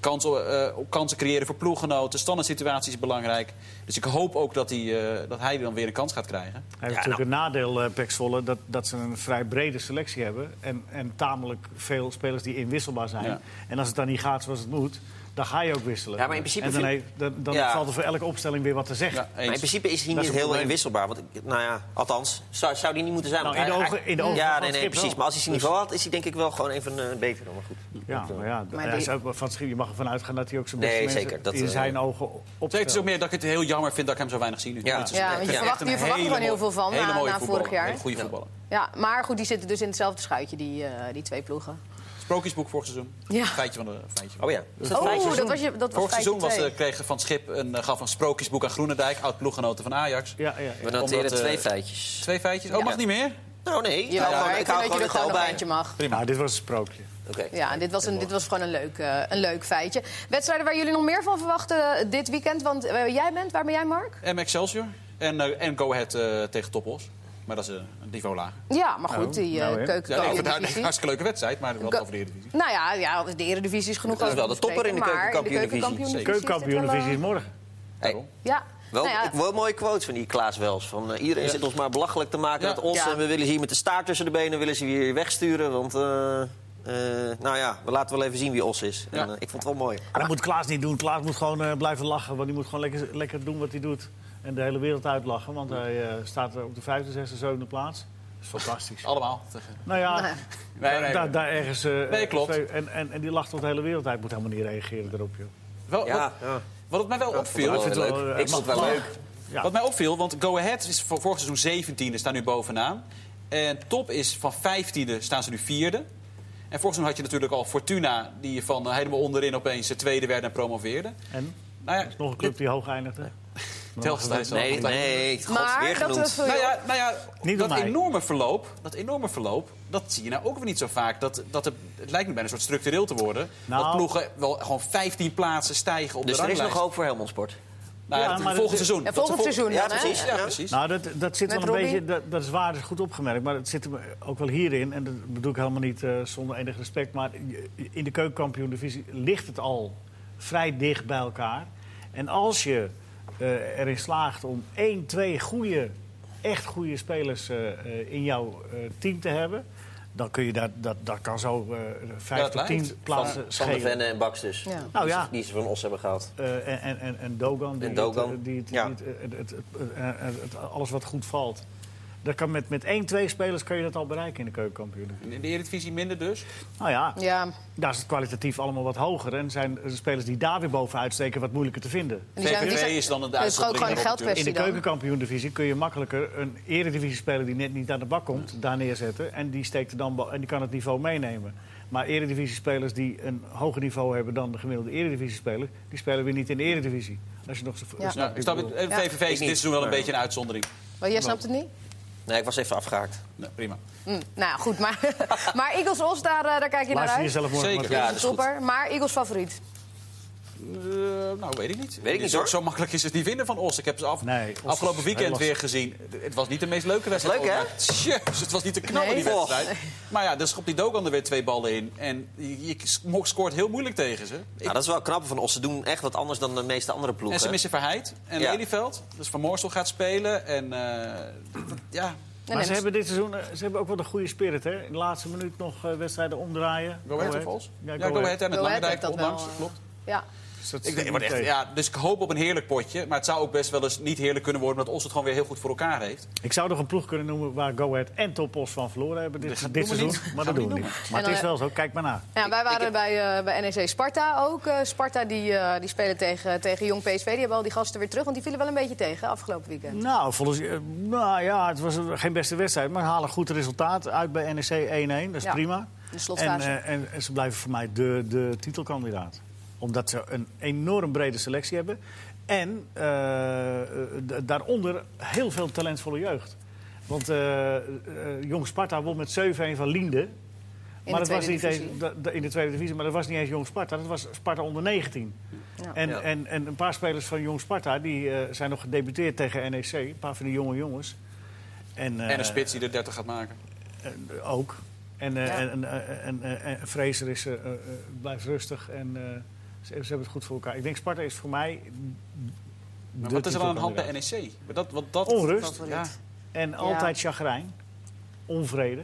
Speaker 4: kansen, eh, kansen creëren voor ploeggenoten. Standaard situaties is belangrijk. Dus ik hoop ook dat hij, eh, dat hij dan weer een kans gaat krijgen.
Speaker 2: Hij heeft natuurlijk
Speaker 3: nou.
Speaker 2: een nadeel, eh Pek Zwolle, dat, dat ze een vrij brede selectie hebben. En, en tamelijk veel spelers die inwisselbaar zijn.
Speaker 4: Ja.
Speaker 2: En als het dan niet gaat zoals het moet, dan ga je ook wisselen.
Speaker 3: Ja, maar in principe
Speaker 2: en dan,
Speaker 3: vind-
Speaker 2: heeft- dan, dan
Speaker 3: Ja.
Speaker 2: valt er voor elke opstelling weer wat te zeggen.
Speaker 4: Ja, eens.
Speaker 3: Maar in principe is hij
Speaker 2: Dat is
Speaker 3: niet
Speaker 2: een
Speaker 3: heel
Speaker 2: probleem.
Speaker 3: inwisselbaar. Want, ik- nou ja, althans, zou, zou die niet moeten zijn.
Speaker 2: Nou,
Speaker 3: want
Speaker 2: in de
Speaker 3: hij-
Speaker 2: ogen-
Speaker 3: hij-
Speaker 2: in de ogen
Speaker 3: ja,
Speaker 2: van
Speaker 3: nee, nee,
Speaker 2: Schip
Speaker 3: precies.
Speaker 2: wel. Dus-
Speaker 3: Maar als hij zijn niveau had, is hij denk ik wel gewoon even eh, beter dan. Maar goed.
Speaker 2: Ja, maar ja,
Speaker 1: Maar
Speaker 2: hij
Speaker 1: die-
Speaker 2: is ook wel van het schip. Je mag ervan uitgaan dat hij ook zijn
Speaker 3: Nee,
Speaker 2: beste mensen
Speaker 3: zeker. Dat,
Speaker 2: in
Speaker 3: eh,
Speaker 2: zijn ogen opstelt.
Speaker 4: Het is ook meer dat ik het heel jammer vind dat ik hem zo weinig zie nu.
Speaker 3: Ja.
Speaker 4: Dit seizoen.
Speaker 1: Ja, want je
Speaker 4: Ik vind
Speaker 1: verwacht-
Speaker 4: echt een
Speaker 1: je verwacht er
Speaker 4: hele
Speaker 1: gewoon heel
Speaker 4: mooie-
Speaker 1: veel van
Speaker 4: hele
Speaker 1: na-
Speaker 4: mooie
Speaker 1: na vorig
Speaker 4: voetballer.
Speaker 1: jaar.
Speaker 4: Hele goede
Speaker 3: Ja.
Speaker 4: voetballer.
Speaker 1: Ja, maar goed, die zitten dus in hetzelfde schuitje, die, eh, die twee ploegen.
Speaker 4: Sprookjesboek vorig seizoen.
Speaker 1: Ja.
Speaker 4: Feitje van de feitje. van
Speaker 3: Oh
Speaker 4: de-
Speaker 3: ja. Is
Speaker 1: Oh,
Speaker 3: vijf seizoen?
Speaker 1: dat was, je, dat was
Speaker 4: Vorig seizoen was,
Speaker 1: feitje
Speaker 4: eh, kreeg Van Schip een, eh, gaf een sprookjesboek aan Groenendijk, oud ploeggenoten van Ajax.
Speaker 2: Ja, ja,
Speaker 3: We
Speaker 2: ja.
Speaker 3: noteren
Speaker 4: Omdat, eh,
Speaker 3: twee feitjes.
Speaker 4: Twee feitjes. Oh,
Speaker 1: Ja.
Speaker 4: mag niet meer?
Speaker 3: Nou, nee.
Speaker 1: Jawel,
Speaker 3: ik
Speaker 1: maar
Speaker 3: hou gewoon-
Speaker 1: ik
Speaker 3: ik
Speaker 1: vind dat
Speaker 3: hou
Speaker 1: je
Speaker 3: gewoon
Speaker 1: er
Speaker 3: het
Speaker 1: gewoon
Speaker 3: tel
Speaker 1: nog
Speaker 3: bij.
Speaker 1: eentje mag.
Speaker 2: Nou, dit was een sprookje.
Speaker 3: Oké.
Speaker 1: Ja, en dit was, een, dit was gewoon een leuk, eh, een leuk feitje. Wedstrijden waar jullie nog meer van verwachten eh, dit weekend. Want eh, jij bent, waar ben jij, Mark?
Speaker 4: En Excelsior. En, eh, en Go Ahead eh, tegen Toppos. Maar dat is eh, een niveau lager.
Speaker 1: Ja, maar goed, die eh
Speaker 2: nou, hè.
Speaker 4: Ja, nee, ik vind het een
Speaker 1: keukenkampioen-divisie.
Speaker 4: hartstikke leuke wedstrijd, maar wel
Speaker 1: Go-
Speaker 4: over de Eredivisie.
Speaker 1: Nou ja, ja, de eredivisie is genoeg.
Speaker 3: Dat is
Speaker 1: over
Speaker 3: wel
Speaker 1: te
Speaker 3: de topper in de
Speaker 1: bespreken, maar
Speaker 3: keukenkampioendivisie.
Speaker 1: keukenkampioendivisie is dit
Speaker 2: Keukenkampioen-divisie is
Speaker 1: wel,
Speaker 2: morgen.
Speaker 3: Hey,
Speaker 4: Daarom.
Speaker 1: eh, Ja,
Speaker 3: Wel,
Speaker 1: nou ja,
Speaker 3: ik, wel mooie quotes van die Klaas Wels. Van, eh, iedereen zit ons maar belachelijk te maken
Speaker 4: Ja.
Speaker 3: dat ons...
Speaker 1: Ja.
Speaker 3: en we willen ze hier met de staart tussen de benen willen ze hier wegsturen. Want, eh, eh, nou ja, we laten wel even zien wie Os is. En,
Speaker 4: Ja.
Speaker 3: eh, ik vond het wel mooi.
Speaker 2: Maar dat moet Klaas niet doen. Klaas moet gewoon eh, blijven lachen. Want die moet gewoon lekker, lekker doen wat hij doet. En de hele wereld uitlachen. Want hij eh, staat op de vijfde, zesde, zevende plaats. Dat is fantastisch.
Speaker 4: Allemaal. eh, tegen-
Speaker 2: Nou ja,
Speaker 1: Nee.
Speaker 4: Nee, nee.
Speaker 2: Daar, daar ergens... eh,
Speaker 4: Nee, klopt.
Speaker 2: twee- En, en, en die lacht tot de hele wereld uit. Moet helemaal niet reageren erop, joh.
Speaker 4: Wel,
Speaker 3: Ja,
Speaker 4: wat,
Speaker 3: ja.
Speaker 4: wat het mij wel opviel...
Speaker 3: Ik vond het wel
Speaker 2: wel,
Speaker 3: Oh, leuk.
Speaker 2: eh,
Speaker 3: Ik vond het wel
Speaker 2: mag-
Speaker 3: leuk.
Speaker 2: Ja.
Speaker 4: Wat mij opviel, want Go Ahead is voor vorig seizoen 17e, staan nu bovenaan. En top is van 15e, staan ze nu vierde. En vorig seizoen had je natuurlijk al Fortuna, die van eh, helemaal onderin opeens eh, tweede werd en promoveerde.
Speaker 2: En?
Speaker 4: Nou ja,
Speaker 2: Er is nog een club die hoog eindigde.
Speaker 4: dit- Telstar is al
Speaker 3: Nee,
Speaker 4: altijd-
Speaker 3: nee, gods,
Speaker 1: maar
Speaker 3: weer
Speaker 1: dat eh,
Speaker 3: genoemd. Dus
Speaker 1: we-
Speaker 4: Nou ja, nou ja
Speaker 2: Niet door
Speaker 4: dat,
Speaker 2: mij.
Speaker 4: enorme verloop, dat enorme verloop, dat zie je nou ook weer niet zo vaak. Dat, dat het, het lijkt me bijna een soort structureel te worden.
Speaker 2: Nou.
Speaker 4: Dat ploegen wel gewoon 15 plaatsen stijgen op
Speaker 3: Dus
Speaker 4: de
Speaker 3: er is
Speaker 4: ranglijst.
Speaker 3: nog hoop voor Helmond Sport.
Speaker 4: Nou ja,
Speaker 2: Ja,
Speaker 4: dat-
Speaker 2: maar
Speaker 4: volgend
Speaker 2: dat-
Speaker 4: seizoen.
Speaker 1: Ja,
Speaker 4: Dat
Speaker 1: volgend
Speaker 4: ze vol-
Speaker 1: seizoen
Speaker 3: Ja,
Speaker 1: dan, hè?
Speaker 3: precies.
Speaker 4: Ja,
Speaker 3: Ja.
Speaker 4: precies.
Speaker 2: Nou, dat, dat zit
Speaker 1: Met
Speaker 2: wel een
Speaker 1: Robbie?
Speaker 2: beetje, dat, dat is waar, dat is goed opgemerkt. Maar dat zit hem ook wel hierin, en dat bedoel ik helemaal niet eh, zonder enig respect. Maar je- in de keukenkampioen-divisie ligt het al vrij dicht bij elkaar. En als je eh, erin slaagt om één, twee goede, echt goede spelers eh, eh, in jouw eh, team te hebben... dan kun je dat, dat, dat kan zo eh, vijf
Speaker 4: Ja, dat
Speaker 2: tot tien
Speaker 4: lijkt.
Speaker 2: plaatsen
Speaker 3: Van de
Speaker 2: schelen.
Speaker 3: Venne en Baks dus.
Speaker 1: Ja.
Speaker 2: Nou ja.
Speaker 3: Die ze van Os hebben gehad.
Speaker 2: Eh, en, en, en, en Dogan. Die
Speaker 3: En Dogan,
Speaker 2: het- eh, die het-
Speaker 3: ja.
Speaker 2: die het- het- het- het- eh, eh, het- alles wat goed valt. Dat kan met, met één, twee spelers kan je dat al bereiken in de keukenkampioen.
Speaker 4: In de Eredivisie minder dus.
Speaker 2: Nou ja,
Speaker 1: ja, en
Speaker 2: daar is het kwalitatief allemaal wat hoger. En zijn de spelers die daar weer bovenuit steken wat moeilijker te vinden.
Speaker 1: die zijn- die
Speaker 4: VVV
Speaker 1: zijn-
Speaker 4: is dan een
Speaker 1: dat is gewoon
Speaker 4: uitzondering
Speaker 1: gewoon een
Speaker 4: daarop
Speaker 2: In
Speaker 1: geldkwestie
Speaker 2: de
Speaker 1: dan.
Speaker 2: keukenkampioen-divisie kun je makkelijker een eredivisie-speler die net niet aan de bak komt, daar neerzetten. En die, steekt er dan bo- en die kan het niveau meenemen. Maar eredivisie-spelers die een hoger niveau hebben dan de gemiddelde eredivisie-speler, die spelen weer niet in de eredivisie. Als je nog zo
Speaker 1: Ja.
Speaker 4: Ja, ik snap het. Eh,
Speaker 1: Ja.
Speaker 4: VVV is
Speaker 3: Ik
Speaker 4: dit
Speaker 3: niet.
Speaker 4: seizoen wel een
Speaker 3: Maar-
Speaker 4: beetje een uitzondering.
Speaker 1: Want jij snapt het niet?
Speaker 3: Nee, ik was even afgehaakt.
Speaker 4: Nou, prima.
Speaker 1: Hm, nou ja, goed, maar, maar Eagles Os, daar, eh, daar kijk je naar
Speaker 2: Luister
Speaker 1: uit.
Speaker 2: jezelf morgen
Speaker 4: Zeker.
Speaker 2: maar
Speaker 3: Ja, dat is goed.
Speaker 1: Topper, maar Eagles favoriet.
Speaker 4: Eh, nou, weet ik niet.
Speaker 3: Weet ik niet,
Speaker 4: zo,
Speaker 3: hoor.
Speaker 4: zo makkelijk is het niet vinden van Os. Ik heb ze af,
Speaker 2: Nee, Os is
Speaker 4: afgelopen
Speaker 2: heel
Speaker 4: weekend
Speaker 2: lastig.
Speaker 4: weer gezien. D- Het was niet de meest leuke wedstrijd.
Speaker 3: leuk, hè?
Speaker 4: ooit, maar Tjus, het was niet te knallen,
Speaker 1: Nee.
Speaker 4: die wedstrijd. Maar ja, dan schopt die Dogan er weer twee ballen in. En je, je sco- scoort heel moeilijk tegen ze. Ik-
Speaker 3: Nou, dat is wel knap van Os. Ze doen echt wat anders dan de meeste andere ploegen.
Speaker 4: en ze missen Verheid en
Speaker 3: Ja.
Speaker 4: Lelyveld. Dus Van Moorsel gaat spelen. En eh, dat- ja,
Speaker 1: Nee,
Speaker 2: maar
Speaker 1: nee,
Speaker 2: ze hebben dit seizoen eh, ze hebben ook wel een goede spirit, hè? In de laatste minuut nog eh, wedstrijden omdraaien.
Speaker 4: Go Ahead of Os?
Speaker 2: Ja,
Speaker 4: Ja, Go Ahead hè, met
Speaker 1: Go Ahead heeft
Speaker 4: Langendijk
Speaker 1: dat wel,
Speaker 4: ondanks.
Speaker 1: eh,
Speaker 4: Klopt.
Speaker 1: Ja.
Speaker 2: Dus dat
Speaker 4: Ik
Speaker 2: zit
Speaker 4: denk, maar
Speaker 2: niet
Speaker 4: echt,
Speaker 2: tegen.
Speaker 4: ja, dus ik hoop op een heerlijk potje. Maar het zou ook best wel eens niet heerlijk kunnen worden... omdat Os het gewoon weer heel goed voor elkaar heeft.
Speaker 2: Ik zou nog een ploeg kunnen noemen waar Go Ahead en Topos van verloren hebben dit, dit
Speaker 4: doen we
Speaker 2: seizoen.
Speaker 4: niet.
Speaker 2: Maar dat
Speaker 4: Gaan we
Speaker 2: doen we
Speaker 4: niet
Speaker 2: niet. Maar
Speaker 1: En eh,
Speaker 2: het
Speaker 1: dan-
Speaker 2: is wel zo, kijk maar na.
Speaker 1: Ja, Nou, wij
Speaker 4: Ik-
Speaker 1: waren
Speaker 4: ik heb-
Speaker 1: bij, eh bij NEC Sparta ook. Eh, Sparta die, eh, die spelen tegen, tegen Jong PSV. Die hebben al die gasten weer terug, want die vielen wel een beetje tegen afgelopen weekend.
Speaker 2: Nou, volgens, eh, nou ja, het was een- geen beste wedstrijd, maar halen goed resultaat uit bij E NEC 1-1. Dat is
Speaker 1: Ja,
Speaker 2: prima.
Speaker 1: de
Speaker 2: en,
Speaker 1: slotfase.
Speaker 2: eh, en, en ze blijven voor mij de, de titelkandidaat. Omdat ze een enorm brede selectie hebben. En eh, eh, d- daaronder heel veel talentvolle jeugd. Want eh, eh, Jong Sparta won met 7-1 van Liende.
Speaker 1: de
Speaker 2: maar dat was
Speaker 1: tweede
Speaker 2: niet
Speaker 1: divisie.
Speaker 2: eens, da- da- in de tweede divisie, maar dat was niet eens Jong Sparta. Dat was Sparta onder 19.
Speaker 1: Ja.
Speaker 2: En,
Speaker 3: Ja.
Speaker 2: en, en een paar spelers van Jong Sparta die eh, zijn nog gedebuteerd tegen NEC. Een paar van die jonge jongens. En, eh,
Speaker 4: en een spits die er 30 gaat maken.
Speaker 2: eh, ook. En, eh
Speaker 1: Ja.
Speaker 2: en, en, eh, en, eh, en Fraser is, eh, eh, eh, blijft rustig en eh, ze, ze hebben het goed voor elkaar. Ik denk Sparta is voor mij.
Speaker 4: Maar
Speaker 2: de
Speaker 4: wat is er dan aan de hand bij E
Speaker 2: titelkandidaat.
Speaker 4: NEC? Maar dat, want dat,
Speaker 2: Onrust.
Speaker 4: dat- ja.
Speaker 1: Favoriet.
Speaker 2: En altijd chagrijn, onvrede.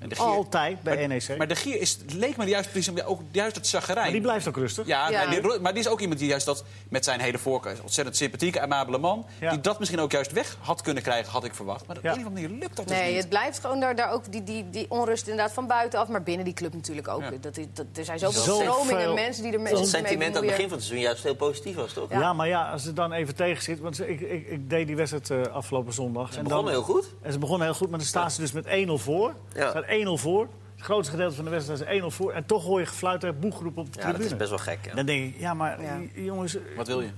Speaker 4: En de gier-
Speaker 2: Altijd bij
Speaker 4: Maar-
Speaker 2: NEC.
Speaker 4: Maar de Gier is, leek me juist, precies om- ook juist dat
Speaker 2: Maar
Speaker 4: chagrijn.
Speaker 2: die blijft ook rustig.
Speaker 4: Ja,
Speaker 1: Ja.
Speaker 4: maar die- maar die is ook iemand die juist dat met zijn hele voorkeur... is een ontzettend sympathieke, amabele man...
Speaker 2: Ja.
Speaker 4: die dat misschien ook juist weg had kunnen krijgen, had ik verwacht. Maar op
Speaker 2: Ja.
Speaker 4: een of andere manier lukt dat dus
Speaker 1: Nee,
Speaker 4: niet.
Speaker 1: het blijft gewoon daar, daar ook die, die, die onrust inderdaad van buitenaf. Maar binnen die club natuurlijk ook.
Speaker 4: Ja.
Speaker 1: Dat, is- dat, er zijn zoveel
Speaker 2: Zoveel-
Speaker 1: stromingen mensen die er mensen
Speaker 3: Dat het
Speaker 1: mee
Speaker 3: sentiment aan het
Speaker 1: bemoeien.
Speaker 3: begin van het seizoen juist heel positief was, toch?
Speaker 2: Ja. maar ja, als het dan even tegen zit. Want ze- ik, ik, ik deed die wedstrijd eh, afgelopen zondag.
Speaker 3: Ze begonnen heel goed.
Speaker 2: En ze begonnen heel goed, maar dan staan ze dus met 1-0 voor.
Speaker 3: Ja.
Speaker 2: Ze staan 1-0 voor. Het grootste gedeelte van de wedstrijd is 1-0 voor. En toch hoor je gefluit en boegroep op de
Speaker 3: Ja, dat
Speaker 2: tribune.
Speaker 3: is best wel gek. ja.
Speaker 2: Dan denk ik, ja, maar
Speaker 1: Ja.
Speaker 2: j- jongens,
Speaker 4: Wat wil je?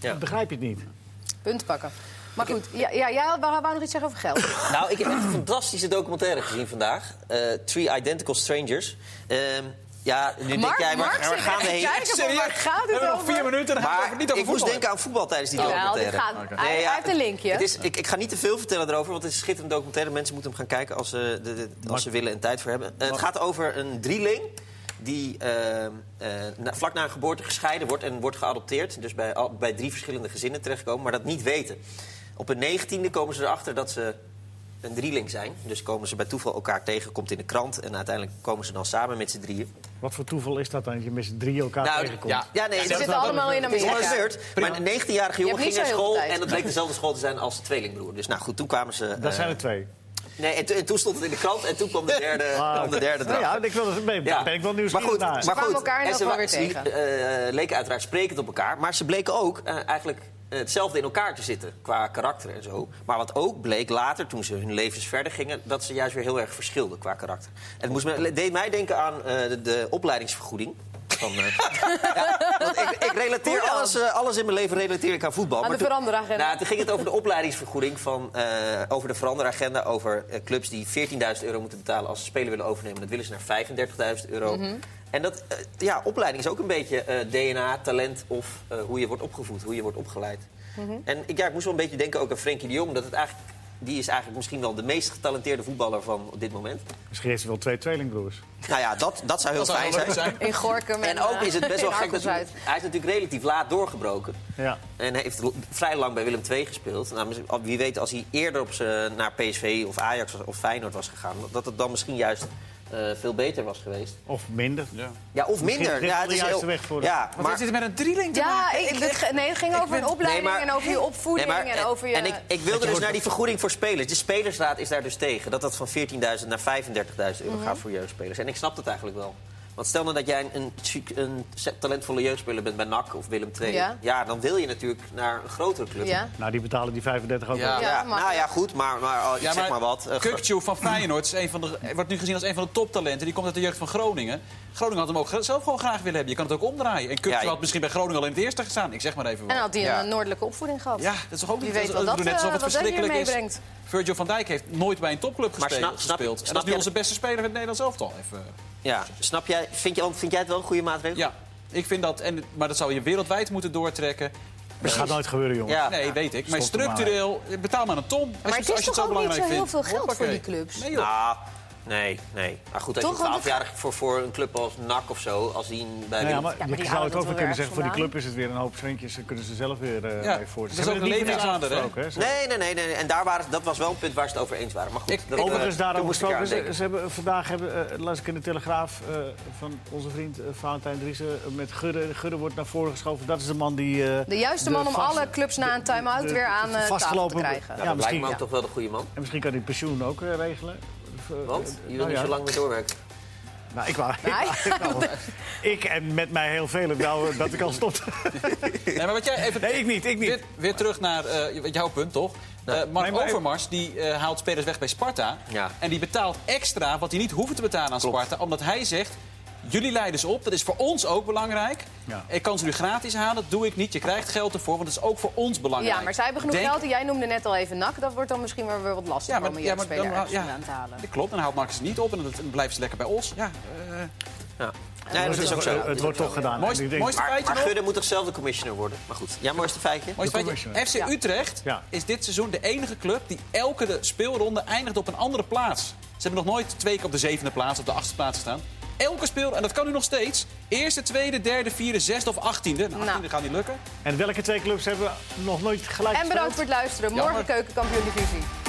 Speaker 3: Ja.
Speaker 2: begrijp je het niet.
Speaker 1: Punt pakken. Maar goed, ja, ja, jij wou, wou nog iets zeggen over geld.
Speaker 3: Nou, ik heb echt een fantastische documentaire gezien vandaag. Eh, Three Identical Strangers. Ehm, ja, nu denk
Speaker 1: Mark,
Speaker 3: jij, waar,
Speaker 1: Mark
Speaker 3: waar
Speaker 1: zit
Speaker 3: gaan we
Speaker 1: echt
Speaker 3: heen?
Speaker 1: kijken van, waar gaat
Speaker 4: We
Speaker 1: het
Speaker 4: hebben nog
Speaker 1: over?
Speaker 4: vier minuten en dan gaan we
Speaker 3: Maar
Speaker 4: het niet over
Speaker 3: ik moest
Speaker 4: voetbal
Speaker 3: denken aan voetbal tijdens die
Speaker 1: Jawel,
Speaker 3: documentaire.
Speaker 1: dit gaat- hij- hij heeft een linkje.
Speaker 3: Het is, ik, ik ga niet te veel vertellen erover, want het is een schitterend documentaire. Mensen moeten hem gaan kijken als ze, de- de- als ze willen en tijd voor hebben. Eh, het gaat over een drieling die ehm, eh, na- vlak na een geboorte gescheiden wordt en wordt geadopteerd. Dus bij, al- bij drie verschillende gezinnen terechtkomen, maar dat niet weten. Op een negentiende komen ze erachter dat ze een drieling zijn. Dus komen ze bij toeval elkaar tegen, komt in de krant... en uiteindelijk komen ze dan samen met z'n drieën.
Speaker 2: Wat voor toeval is dat dan, dat je met z'n drieën elkaar
Speaker 3: Nou,
Speaker 2: tegenkomt?
Speaker 4: ja.
Speaker 3: Ja, nee,
Speaker 1: Ze
Speaker 3: dat-
Speaker 1: zitten
Speaker 2: dat-
Speaker 1: allemaal in
Speaker 3: het is
Speaker 1: Amerika.
Speaker 3: gebeurd. Maar een 19-jarige jongen
Speaker 1: niet
Speaker 3: ging
Speaker 1: zo
Speaker 3: naar
Speaker 1: heel veel
Speaker 3: school
Speaker 1: tijd.
Speaker 3: en dat bleek dezelfde school te zijn als de tweelingbroer. Dus nou goed, toen kwamen ze.
Speaker 2: Dat
Speaker 3: eh,
Speaker 2: zijn er twee.
Speaker 3: Nee, en, toen- en toen stond het in de krant en toen kwam de derde,
Speaker 2: Ah,
Speaker 3: kwam de
Speaker 2: oké.
Speaker 3: derde
Speaker 2: Nou
Speaker 3: erachter.
Speaker 2: ja, ik wil, ben, ben ik wel nieuwsgierig
Speaker 3: maar
Speaker 2: naar.
Speaker 3: goed, maar
Speaker 1: kwamen
Speaker 3: goed,
Speaker 1: elkaar in
Speaker 3: en
Speaker 1: elk
Speaker 3: ze
Speaker 1: geval
Speaker 3: wa-
Speaker 1: weer
Speaker 3: ze, eh, leken uiteraard sprekend op elkaar, maar ze bleken ook eh, eigenlijk hetzelfde in elkaar te zitten qua karakter en zo. Maar wat ook bleek later, toen ze hun levens verder gingen, dat ze juist weer heel erg verschilden qua karakter. En het moest me, deed mij denken aan eh, de, de opleidingsvergoeding. Van, eh, ja, want ik, ik relateer
Speaker 1: Hoe dan?
Speaker 3: alles, eh, alles in mijn leven relateer ik aan voetbal.
Speaker 1: Aan de
Speaker 3: toen-
Speaker 1: veranderagenda.
Speaker 3: Nou, toen ging het over de opleidingsvergoeding, van, eh, over de veranderagenda... over eh, clubs die 14.000 euro moeten betalen als ze spelen willen overnemen. Dat willen ze naar 35.000 euro.
Speaker 1: Mhm.
Speaker 3: En dat, eh, ja, opleiding is ook een beetje eh, DNA, talent of eh, hoe je wordt opgevoed, hoe je wordt opgeleid.
Speaker 1: Mhm.
Speaker 3: En ik, ja, ik moest wel een beetje denken ook aan Frenkie de Jong. Dat het eigenlijk, die is eigenlijk misschien wel de meest getalenteerde voetballer van op dit moment.
Speaker 2: Misschien heeft ze wel twee tweelingbroers.
Speaker 3: Nou ja, dat, dat zou heel
Speaker 4: Dat zou
Speaker 3: fijn
Speaker 4: heel leuk
Speaker 3: zijn.
Speaker 4: zijn.
Speaker 1: In Gorkum.
Speaker 3: En ook
Speaker 1: eh,
Speaker 3: is het best wel
Speaker 1: in
Speaker 3: gek dat hij,
Speaker 1: Arkelzuid.
Speaker 3: hij is natuurlijk relatief laat doorgebroken.
Speaker 2: Ja.
Speaker 3: En heeft l- vrij lang bij Willem II gespeeld. Nou, misschien- wie weet, als hij eerder op z'n- naar PSV of Ajax was- of Feyenoord was gegaan... dat het dan misschien juist eh, veel beter was geweest.
Speaker 2: Of minder.
Speaker 4: Ja.
Speaker 3: Ja, of
Speaker 2: Misschien
Speaker 3: minder.
Speaker 2: ligt
Speaker 3: Ja,
Speaker 2: het de juiste weg voor hem.
Speaker 3: ja,
Speaker 4: Maar het zit met een drieling te
Speaker 1: Ja,
Speaker 4: maken.
Speaker 1: ik, het ge- nee, het ging over een opleiding en over je opvoeding
Speaker 3: Nee, maar-
Speaker 1: en over je...
Speaker 3: en ik, ik wilde dus naar die vergoeding voor spelers. De spelersraad is daar dus tegen. Dat dat van 14.000 naar 35.000 euro gaat voor jeugdspelers. En ik snap dat eigenlijk wel. Want stel nou dat jij een, een, een talentvolle jeugdspeler bent bij NAC of Willem II.
Speaker 1: Ja.
Speaker 3: Ja. dan wil je natuurlijk naar een grotere club.
Speaker 1: ja.
Speaker 2: Nou, die betalen die 35 ook
Speaker 4: Ja.
Speaker 2: wel.
Speaker 1: Ja,
Speaker 3: Ja,
Speaker 1: maar-
Speaker 3: nou ja, goed, maar, maar al- ik
Speaker 4: Ja,
Speaker 3: zeg maar wat. eh, gro-
Speaker 4: Kukçu van Feyenoord is een van de, wordt nu gezien als een van de toptalenten. Die komt uit de jeugd van Groningen. Groningen had hem ook gra- zelf gewoon graag willen hebben. Je kan het ook omdraaien. En Kukçu
Speaker 3: Ja, je-
Speaker 4: had misschien bij Groningen al in het eerste gestaan. Ik zeg maar even
Speaker 1: En
Speaker 4: wat.
Speaker 1: had hij
Speaker 3: Ja.
Speaker 1: een noordelijke opvoeding gehad.
Speaker 4: Ja, dat is toch ook
Speaker 1: Wie
Speaker 4: niet...
Speaker 1: weet
Speaker 4: dat-
Speaker 1: wat dat,
Speaker 4: dat doen net alsof
Speaker 1: eh,
Speaker 4: het
Speaker 1: wat dat hier
Speaker 4: verschrikkelijk is.
Speaker 1: meebrengt.
Speaker 4: Virgil van Dijk heeft nooit bij een topclub
Speaker 3: Maar
Speaker 4: gespeeld.
Speaker 3: snap- snap-
Speaker 4: gespeeld. En
Speaker 3: snap
Speaker 4: dat is nu
Speaker 3: jij-
Speaker 4: onze beste speler van het Nederlands elftal. Even. eh,
Speaker 3: ja. Snap jij, vind, je, vind jij het wel een goede maatregel?
Speaker 4: Ja, ik vind dat... En, maar dat zou je wereldwijd moeten doortrekken.
Speaker 2: Dat gaat nooit gebeuren, jongen.
Speaker 3: Ja.
Speaker 4: Nee, weet ik. Maar
Speaker 2: Stop er maar.
Speaker 4: structureel, eh, betaal maar een ton. Als
Speaker 1: Maar
Speaker 4: je,
Speaker 1: het is
Speaker 4: als je
Speaker 1: toch ook niet
Speaker 4: belangrijk
Speaker 1: zo heel
Speaker 4: vindt.
Speaker 1: veel geld voor
Speaker 4: Hoppakee.
Speaker 1: die clubs?
Speaker 4: Nee, joh.
Speaker 3: Nou, Nee, nee. Maar goed, als
Speaker 1: Toch,
Speaker 3: je een
Speaker 1: want het-
Speaker 3: 12-jarig voor, voor een club als NAC of zo... als die bij
Speaker 2: Ja,
Speaker 3: Willem-
Speaker 2: maar,
Speaker 1: maar die
Speaker 2: je
Speaker 1: houden
Speaker 2: zou het
Speaker 1: dat
Speaker 2: ook wel
Speaker 1: wel
Speaker 2: kunnen
Speaker 1: ergens
Speaker 2: zeggen, voor die
Speaker 1: vandaan.
Speaker 2: club is het weer een hoop vriendjes. Dan kunnen ze zelf weer eh
Speaker 4: Ja,
Speaker 2: mee voortzetten.
Speaker 4: dat is
Speaker 2: Ze
Speaker 4: ook
Speaker 2: hebben het
Speaker 4: een
Speaker 2: niet voor niks
Speaker 4: levensader, hè?
Speaker 2: afgesproken, Ze-
Speaker 3: Nee, nee, nee, nee. nee. En daar waren, dat was wel een punt waar ze het over eens waren. Maar goed,
Speaker 4: Ik-
Speaker 3: dat,
Speaker 4: ik-
Speaker 3: eh,
Speaker 2: Overigens
Speaker 3: toen
Speaker 2: daarover
Speaker 3: moest ik eraan
Speaker 2: gesproken. Ze,
Speaker 3: denken.
Speaker 2: ze hebben, vandaag hebben, eh, las ik in de Telegraaf eh, van onze vriend eh, Valentijn Driessen... eh, met Gudde. Gudde wordt naar voren geschoven. Dat is de man die... eh,
Speaker 1: De juiste man om
Speaker 2: vast-
Speaker 1: alle clubs na een time-out
Speaker 2: de-
Speaker 1: weer aan eh, tafel te
Speaker 2: vastgelopen-
Speaker 1: krijgen.
Speaker 2: Ja,
Speaker 3: Nou, dat lijkt
Speaker 2: misschien,
Speaker 3: me ook
Speaker 2: ja.
Speaker 3: toch wel de goede man.
Speaker 2: En misschien kan hij het pensioen ook eh, regelen. Of, eh,
Speaker 3: Want
Speaker 2: eh,
Speaker 3: je wilt
Speaker 2: nou
Speaker 3: niet
Speaker 2: ja.
Speaker 3: zo lang meer doorwerken.
Speaker 2: Nou, ik wou...
Speaker 1: Nee.
Speaker 2: Ik, wou- ik en met mij heel velen nou, dat ik al stopte.
Speaker 4: Nee, maar wat jij even...
Speaker 2: Nee, ik niet, ik niet.
Speaker 4: Weer, weer terug naar eh, jouw punt, toch? Eh, Mark
Speaker 2: Mijn- mijn-
Speaker 4: Overmars die eh, haalt spelers weg bij Sparta.
Speaker 3: Ja.
Speaker 4: En die betaalt extra wat hij niet hoeft te betalen aan
Speaker 3: Klopt.
Speaker 4: Sparta. Omdat hij zegt, jullie leiden ze op. Dat is voor ons ook belangrijk.
Speaker 2: Ja.
Speaker 4: Ik kan ze nu gratis halen, dat doe ik niet. Je krijgt geld ervoor, want dat is ook voor ons belangrijk.
Speaker 1: Ja, maar zij hebben genoeg
Speaker 4: Denk-
Speaker 1: geld. En jij noemde net al even NAC. Dat wordt dan misschien wel weer wat lastiger
Speaker 4: Ja, maar-
Speaker 1: om
Speaker 4: ja,
Speaker 1: een
Speaker 4: maar dan-
Speaker 1: speler ergens
Speaker 4: ja.
Speaker 1: vandaan te halen.
Speaker 4: Dat klopt, en dan houdt Marcus het niet op en dan dan blijft ze lekker bij ons. Ja, eh,
Speaker 3: Ja. Nee, dat is ook zo.
Speaker 2: Eh, Het wordt toch gedaan.
Speaker 4: Mooiste-
Speaker 2: Ik denk-
Speaker 4: mooiste-
Speaker 3: Maar,
Speaker 4: Feitje
Speaker 3: maar
Speaker 4: nog?
Speaker 3: Gudde moet toch zelf de commissioner worden? Maar goed, ja, mooiste feitje.
Speaker 4: Mooi
Speaker 2: De
Speaker 4: feitje.
Speaker 2: commissioner.
Speaker 4: FC
Speaker 1: Ja.
Speaker 4: Utrecht
Speaker 2: Ja.
Speaker 4: is dit seizoen de enige club die elke de speelronde eindigt op een andere plaats. Ze hebben nog nooit twee keer op de zevende plaats, op de achtste plaats staan. Elke speel, en dat kan nu nog steeds. Eerste, tweede, derde, vierde, zesde of achttiende. Nou, achttiende gaat niet lukken.
Speaker 2: En welke twee clubs hebben nog nooit gelijk
Speaker 1: En bedankt voor het luisteren. Morgen
Speaker 4: Jammer.
Speaker 1: Keukenkampioen Divisie.